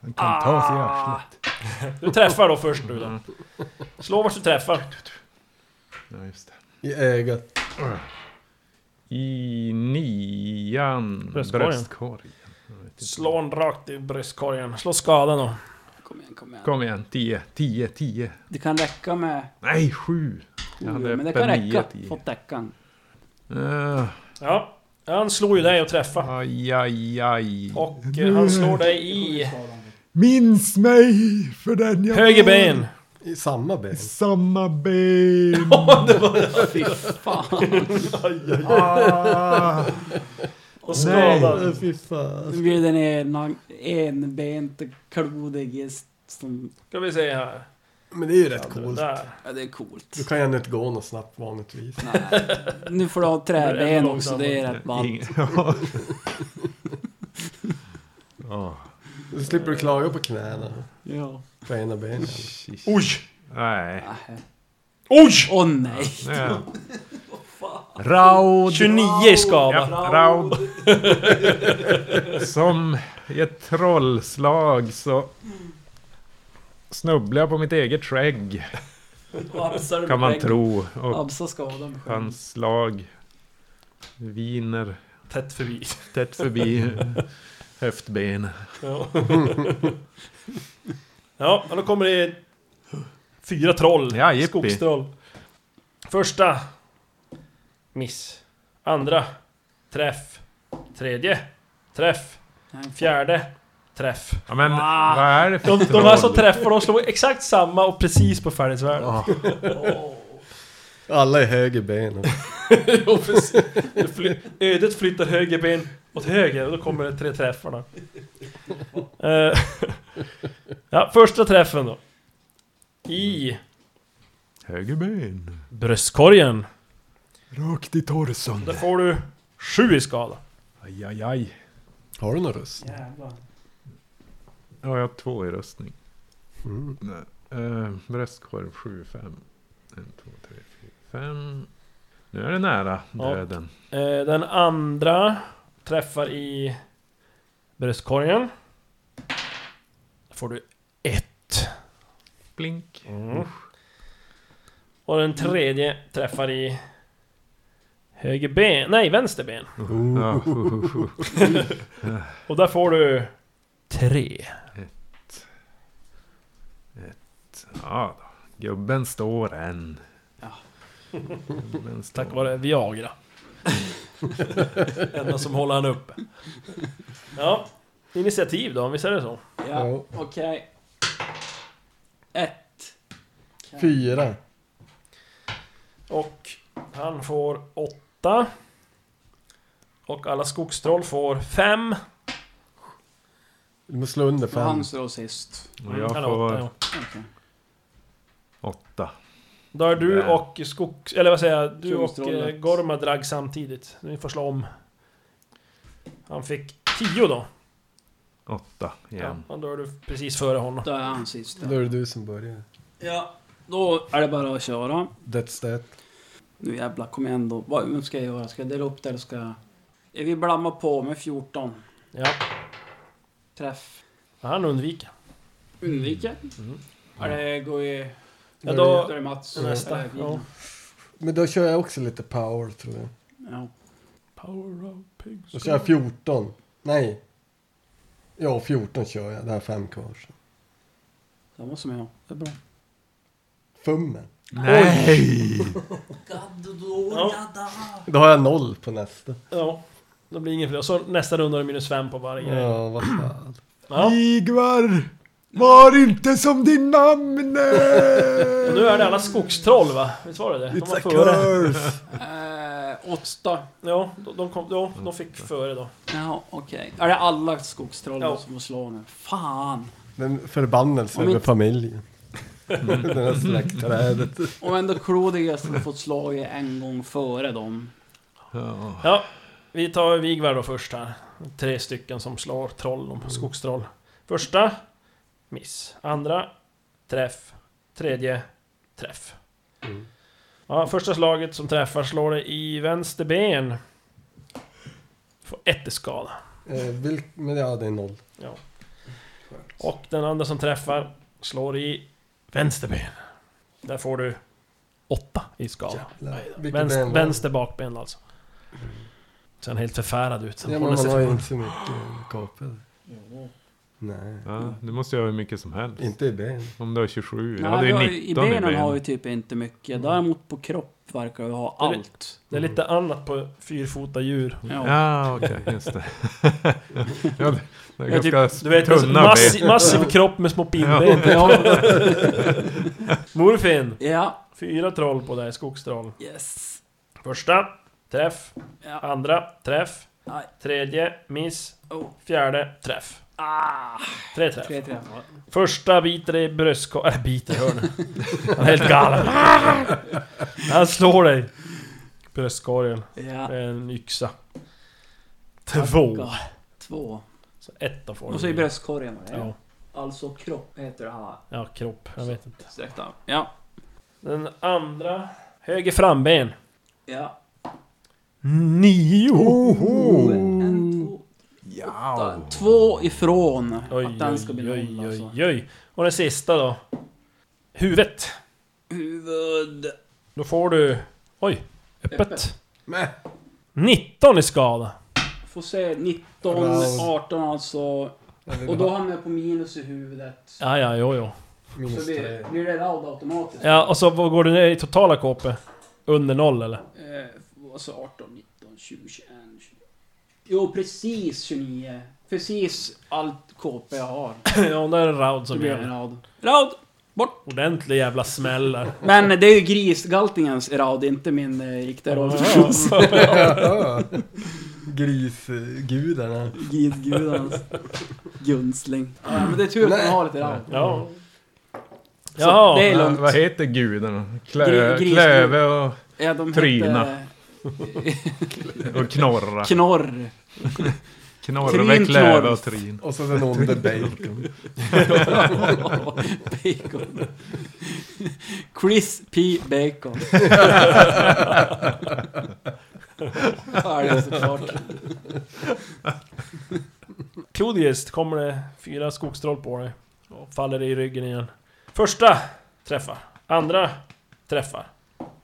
Speaker 3: Han kan ta
Speaker 5: Ah.
Speaker 3: sig i arslet.
Speaker 2: Du träffar då först nu då. Slå vart du träffar.
Speaker 3: Ja, just det.
Speaker 6: I ögat.
Speaker 3: I nian.
Speaker 2: Bröstkorgen.
Speaker 3: Bröstkorgen. Jag vet inte.
Speaker 2: Typ. Slå en rakt i bröstkorgen. Slå skadan då.
Speaker 5: Kom igen, kom igen.
Speaker 3: Kom igen, tio, tio, tio.
Speaker 5: Det kan räcka med...
Speaker 3: Nej, sju. Jag hade
Speaker 5: Men det
Speaker 3: öppen
Speaker 5: kan
Speaker 3: nio,
Speaker 5: räcka.
Speaker 3: tio.
Speaker 5: Fått täckan.
Speaker 3: Uh,
Speaker 2: Ja. Han slår ju dig och träffar.
Speaker 3: aj, aj, aj.
Speaker 2: Och eh, han slår dig i
Speaker 8: Minns mig för den jag
Speaker 2: höger
Speaker 8: var.
Speaker 2: ben.
Speaker 6: I samma ben.
Speaker 8: Samma ben.
Speaker 5: Fy fan.
Speaker 3: Ah,
Speaker 2: Och skadad.
Speaker 6: Fy fan.
Speaker 5: Nu blir den ena enbente klodigist som...
Speaker 2: Ska vi se här.
Speaker 6: Men det är ju rätt coolt.
Speaker 2: Där.
Speaker 5: Ja, det är coolt.
Speaker 6: Du kan ju ändå inte gå något snabbt vanligtvis.
Speaker 5: Nej. Nu får du ha
Speaker 2: Det är
Speaker 5: träben
Speaker 2: ännu
Speaker 5: också, det är rätt ballt.
Speaker 3: ingen- ja. Ah,
Speaker 6: Då slipper du klaga på knäna.
Speaker 5: Ja.
Speaker 6: På ena benen.
Speaker 3: shit.
Speaker 2: Oj!
Speaker 3: Nej.
Speaker 5: Nej.
Speaker 2: Oj!
Speaker 5: Åh nej!
Speaker 3: Ja. Raud.
Speaker 2: 29 i skada.
Speaker 3: Ja, raud. Som i ett trollslag så snubblar jag på mitt eget skägg
Speaker 5: Absar
Speaker 3: kan man tro. Och
Speaker 5: Absa skadade mig själv.
Speaker 3: hans slag viner
Speaker 2: Tätt förbi.
Speaker 3: tätt förbi höftben.
Speaker 2: Ja. ja, och då kommer det fyra troll.
Speaker 3: Ja, jippi.
Speaker 2: skogstroll. Första. Miss. Andra. Träff. Tredje. Träff.
Speaker 5: Nej,
Speaker 2: Fjärde. Träff.
Speaker 3: Ja, men vad är det för
Speaker 2: De, de här som
Speaker 3: troll?
Speaker 2: träffar, de slår exakt samma och precis på färdighetsvärdet.
Speaker 3: Ja.
Speaker 6: Alla är höger ben.
Speaker 2: Jo, precis. Det fly- Ödet flyttar höger ben åt höger och då kommer det tre träffar då. Eh, ja, första träffen då. I
Speaker 3: Höger ben.
Speaker 2: bröstkorgen.
Speaker 8: Rakt i torson.
Speaker 2: Där får du sju i skada.
Speaker 3: Aj, aj, aj.
Speaker 6: Har du någon röst?
Speaker 2: Jävlar.
Speaker 3: Ja, jag har två i röstning.
Speaker 6: Mm.
Speaker 3: Nej. Eh, bröstkorv 7, 5. 1, 2, 3, 4, 5. Nu är det nära
Speaker 2: Ja.
Speaker 3: döden.
Speaker 2: Eh, den andra träffar i bröstkorgen. Där får du ett.
Speaker 3: Blink.
Speaker 2: Mm. Och den tredje träffar i höger ben, nej vänster ben.
Speaker 3: Ja, hu, hu, hu.
Speaker 2: Och där får du tre.
Speaker 3: ja då. Gubben står än.
Speaker 5: Ja.
Speaker 3: Gubben står.
Speaker 2: Tack vare Viagra. Enda som håller han uppe. Ja, initiativ då om vi säger det så.
Speaker 5: Ja, okej. Ett.
Speaker 6: Fyra.
Speaker 2: Och han får åtta. Och alla skogstroll får fem.
Speaker 6: Du måste slå under
Speaker 5: Och
Speaker 6: fem.
Speaker 5: han slår sist.
Speaker 3: Och jag
Speaker 2: Eller åtta, ja.
Speaker 3: får
Speaker 5: Okej.
Speaker 3: åtta.
Speaker 2: Då är du
Speaker 3: Där.
Speaker 2: och skogs... Eller vad säger jag? Du och
Speaker 5: Kungstrollet.
Speaker 2: eh, Gorma drag samtidigt. Ni får slå om. Han fick tio då.
Speaker 3: Åtta igen.
Speaker 2: Ja, och då är du precis före honom.
Speaker 5: Då är han sist.
Speaker 6: Då är det du som börjar.
Speaker 5: Ja, då är det bara att köra.
Speaker 6: That's that.
Speaker 5: Nu jävlar, kom igen då. Vad vad ska jag göra? Ska jag dela upp det eller ska jag... Är vi blamma på med 14?
Speaker 2: Ja.
Speaker 5: Träff.
Speaker 2: Han undviker.
Speaker 5: Undviker. Är det går ju...
Speaker 2: Ja, då-
Speaker 5: Mm. Då är det Mats.
Speaker 2: Nästa.
Speaker 5: Eller-
Speaker 2: Ja.
Speaker 6: Men då kör jag också lite power tror jag.
Speaker 5: Ja.
Speaker 2: Power of pigs.
Speaker 6: Då kör jag 14. Nej. Ja, 14 kör jag. Det här är fem kvar. så.
Speaker 5: Samma som jag. Det är bra.
Speaker 6: Fummen.
Speaker 7: Nej!
Speaker 6: Då har jag noll på nästa.
Speaker 2: Ja. Då blir det ingen fler. Så nästa runda är det minus fem på varje grej.
Speaker 6: Ja, vad fan.
Speaker 2: Ja.
Speaker 4: Igvar! Var inte som din namn!
Speaker 2: Och nu är det alla skogstroll va? Visst var det det? De var före.
Speaker 5: Eh, åtta.
Speaker 2: Ja, de, de, kom, ja, de fick före då.
Speaker 5: Ja, okej. Är det alla skogstroll
Speaker 2: Ja.
Speaker 5: som får slå nu? Fan!
Speaker 6: Den förbannelsen
Speaker 5: Om
Speaker 6: över
Speaker 5: inte-
Speaker 6: familjen. Den här släktträdet.
Speaker 5: Om ändå Claudius hade fått slå i en gång före dem.
Speaker 2: Ja, vi tar Vigvar då först här. Tre stycken som slår troll,
Speaker 6: Mm.
Speaker 2: de skogstroll. Första, miss. Andra, träff. Tredje, träff.
Speaker 6: Mm.
Speaker 2: Ja, första slaget som träffar slår det i vänster ben. Får ett i skada.
Speaker 6: Eh, vilk, men ja, det är noll.
Speaker 2: Och den andra som träffar slår i vänster ben. Där får du åtta i skada.
Speaker 6: Vilket
Speaker 2: Vänster,
Speaker 6: ben var det?
Speaker 2: vänster bakben alltså. Sen helt förfärad ut. Sen
Speaker 6: Mm. Ja, men
Speaker 2: håller sig
Speaker 6: man har ju
Speaker 2: för
Speaker 6: inte så mycket KP. Nej,
Speaker 7: Ja, du måste ju ha hur mycket som helst.
Speaker 6: inte i ben.
Speaker 7: Om du har 27. Jag
Speaker 5: Nej,
Speaker 7: hade
Speaker 5: vi
Speaker 7: ju
Speaker 5: har
Speaker 7: 19
Speaker 5: ju- I benen har vi typ inte mycket. Däremot på kropp verkar vi ha
Speaker 2: Det är
Speaker 5: allt.
Speaker 2: Det är lite annat på fyrfota djur.
Speaker 5: Ja.
Speaker 7: Ja, okej, just det. ja, det- det är
Speaker 5: Ja, typ,
Speaker 7: ganska
Speaker 2: Du vet, alltså,
Speaker 7: tunna
Speaker 2: massi,
Speaker 7: ben.
Speaker 2: massiv kropp med små pinnben.
Speaker 5: Ja.
Speaker 2: Morfin!
Speaker 5: ja,
Speaker 2: Fyra troll på dig, skogstroll.
Speaker 5: yes.
Speaker 2: Första, träff.
Speaker 5: Ja.
Speaker 2: Andra, träff.
Speaker 5: Nej.
Speaker 2: Tredje, miss.
Speaker 5: Oh.
Speaker 2: Fjärde, träff.
Speaker 5: Ah,
Speaker 2: Tre träff.
Speaker 5: tre träffar.
Speaker 2: Första biter dig i bröstkorgen... Äh, biter, hör ni? Han är helt galen. Han slår dig. Bröstkorgen.
Speaker 5: Ja.
Speaker 2: Med en yxa. Två.
Speaker 5: God. Två.
Speaker 2: Så ett då får
Speaker 5: Och så i
Speaker 2: du.
Speaker 5: bröstkorgen var det.
Speaker 2: Ja,
Speaker 5: Alltså kropp heter det här.
Speaker 2: ja, kropp. Jag vet inte.
Speaker 5: Sträckt av. Ja.
Speaker 2: Den andra... Höger framben.
Speaker 5: Ja.
Speaker 2: Nio!
Speaker 5: En, två, åtta. Två ifrån att den ska bli noll alltså.
Speaker 2: oj, oj. Och den sista då. Huvudet.
Speaker 5: Huvud...
Speaker 2: Då får du... Oj. Öppet.
Speaker 5: Öppet.
Speaker 6: Men,
Speaker 2: 19 i skada.
Speaker 5: Får se 19,
Speaker 6: Round.
Speaker 5: 18 alltså. Och då hamnar jag på minus i huvudet.
Speaker 2: Ja, ja, jo, jo.
Speaker 5: Så
Speaker 6: minus tre.
Speaker 5: blir, blir det round automatiskt.
Speaker 2: Ja, och så vad går du ner i totala KP? Under noll eller?
Speaker 5: Eh, alltså 18, 19, 20, 21, 20. Jo precis 29. Precis allt KP jag har.
Speaker 2: ja, där är en round
Speaker 5: Så
Speaker 2: som
Speaker 5: blir det en
Speaker 2: gäller.
Speaker 5: round. Round!
Speaker 2: Ordentlig jävla smäll där.
Speaker 5: Men det är ju grisgaltingens round, inte min eh, riktiga roll.
Speaker 6: Grisgudarna.
Speaker 5: Gidgudans gunsling. Ja, men det är tur att man har lite round.
Speaker 2: Ja.
Speaker 5: Så
Speaker 2: Jaha.
Speaker 5: Det är
Speaker 7: Ja,
Speaker 5: lugnt.
Speaker 7: vad heter gudarna? Klö,
Speaker 5: Gri- gris-
Speaker 7: klöve och,
Speaker 5: Ja, de
Speaker 7: Tryna.
Speaker 5: hette
Speaker 7: och knorra.
Speaker 5: Knorr. Tryn,
Speaker 7: Knorve, klöve
Speaker 5: knorr.
Speaker 7: och trin.
Speaker 6: Och så den onde bacon.
Speaker 5: Bacon. Chris P. Bacon. ja, det är såklart.
Speaker 2: Klodiest kommer det fyra skogstroll på dig. Och faller i ryggen igen. Första träffar. Andra träffar.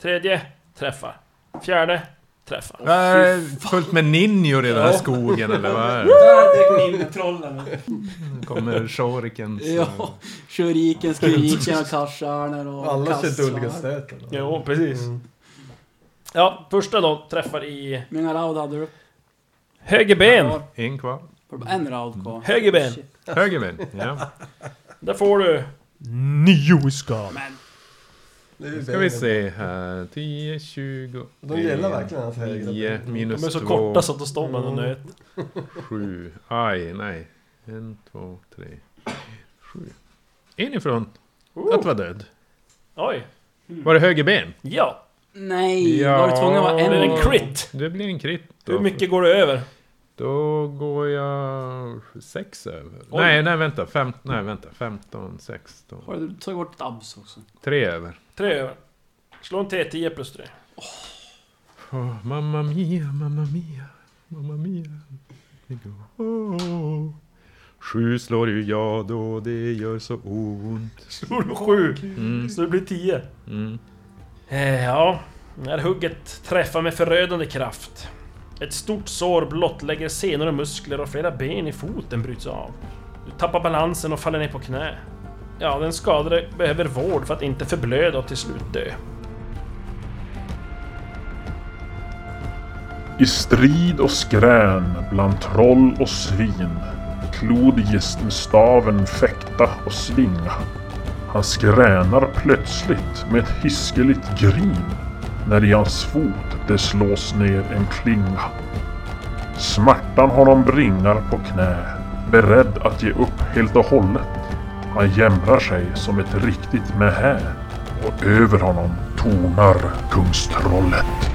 Speaker 2: Tredje träffar. Fjärde träffar.
Speaker 7: Det är fullt med ninjor i den här skogen eller vad är det?
Speaker 5: Där dök ninjetrollen upp.
Speaker 7: Kommer shorikens...
Speaker 5: Ja, shuriken, skriken och kassstjärnor och
Speaker 6: Alla kör
Speaker 5: kastsvärd.
Speaker 6: dullgastöten.
Speaker 2: Jo, precis.
Speaker 6: Mm.
Speaker 2: Ja, första då träffar i
Speaker 5: Hur många round hade du?
Speaker 2: höger ben.
Speaker 7: En kvar.
Speaker 5: Var det bara En round kvar.
Speaker 2: Höger ben.
Speaker 5: Shit.
Speaker 7: Höger ben. Ja.
Speaker 2: Där får du... Nio i skada.
Speaker 5: Men
Speaker 6: Det är ju
Speaker 7: Ska vi
Speaker 6: benen.
Speaker 7: se här. 10, 20...
Speaker 6: De gillar verkligen hans högra
Speaker 7: 9,
Speaker 6: ben.
Speaker 2: De
Speaker 7: minus
Speaker 2: är så
Speaker 7: 2,
Speaker 2: korta så att de står man och nöt.
Speaker 7: Sju. Aj, nej. En, två, tre, sju. Inifrån. Att vara död.
Speaker 2: Oj.
Speaker 7: Var det höger ben?
Speaker 2: Ja.
Speaker 5: nej,
Speaker 7: Ja.
Speaker 5: var du tvungen att vara
Speaker 2: Det
Speaker 5: en
Speaker 2: är en
Speaker 5: round?
Speaker 2: crit.
Speaker 7: Det blir en krit. då.
Speaker 2: Hur mycket går det över?
Speaker 3: Då går jag sex över. Nej, nej vänta. Fem, nej, vänta. 15, 16.
Speaker 5: Har du tagit bort ett abs också?
Speaker 3: Tre över.
Speaker 2: Tre över. Slå en T10 plus tre.
Speaker 3: Åh, mamma mia, mamma mia, mamma mia. Det går. Åh. Sju slår ju jag då, det gör så ont.
Speaker 2: Slår du sju,
Speaker 3: Mm,
Speaker 2: så det blir tio.
Speaker 3: mm.
Speaker 2: Eh, Ja, det här hugget träffar med förödande kraft. Ett stort sår blottlägger senor och muskler och flera ben i foten bryts av. Du tappar balansen och faller ner på knä. Ja, den skadade behöver vård för att inte förblöda och till slut dö.
Speaker 1: I strid och skrän bland troll och svin Clodius med staven fäkta och svinga. Han skränar plötsligt med ett hiskeligt grin när i hans fot det slås ner en klinga. Smärtan honom bringar på knä, beredd att ge upp helt och hållet. Han jämrar sig som ett riktigt mähä och över honom tonar kungstrollet.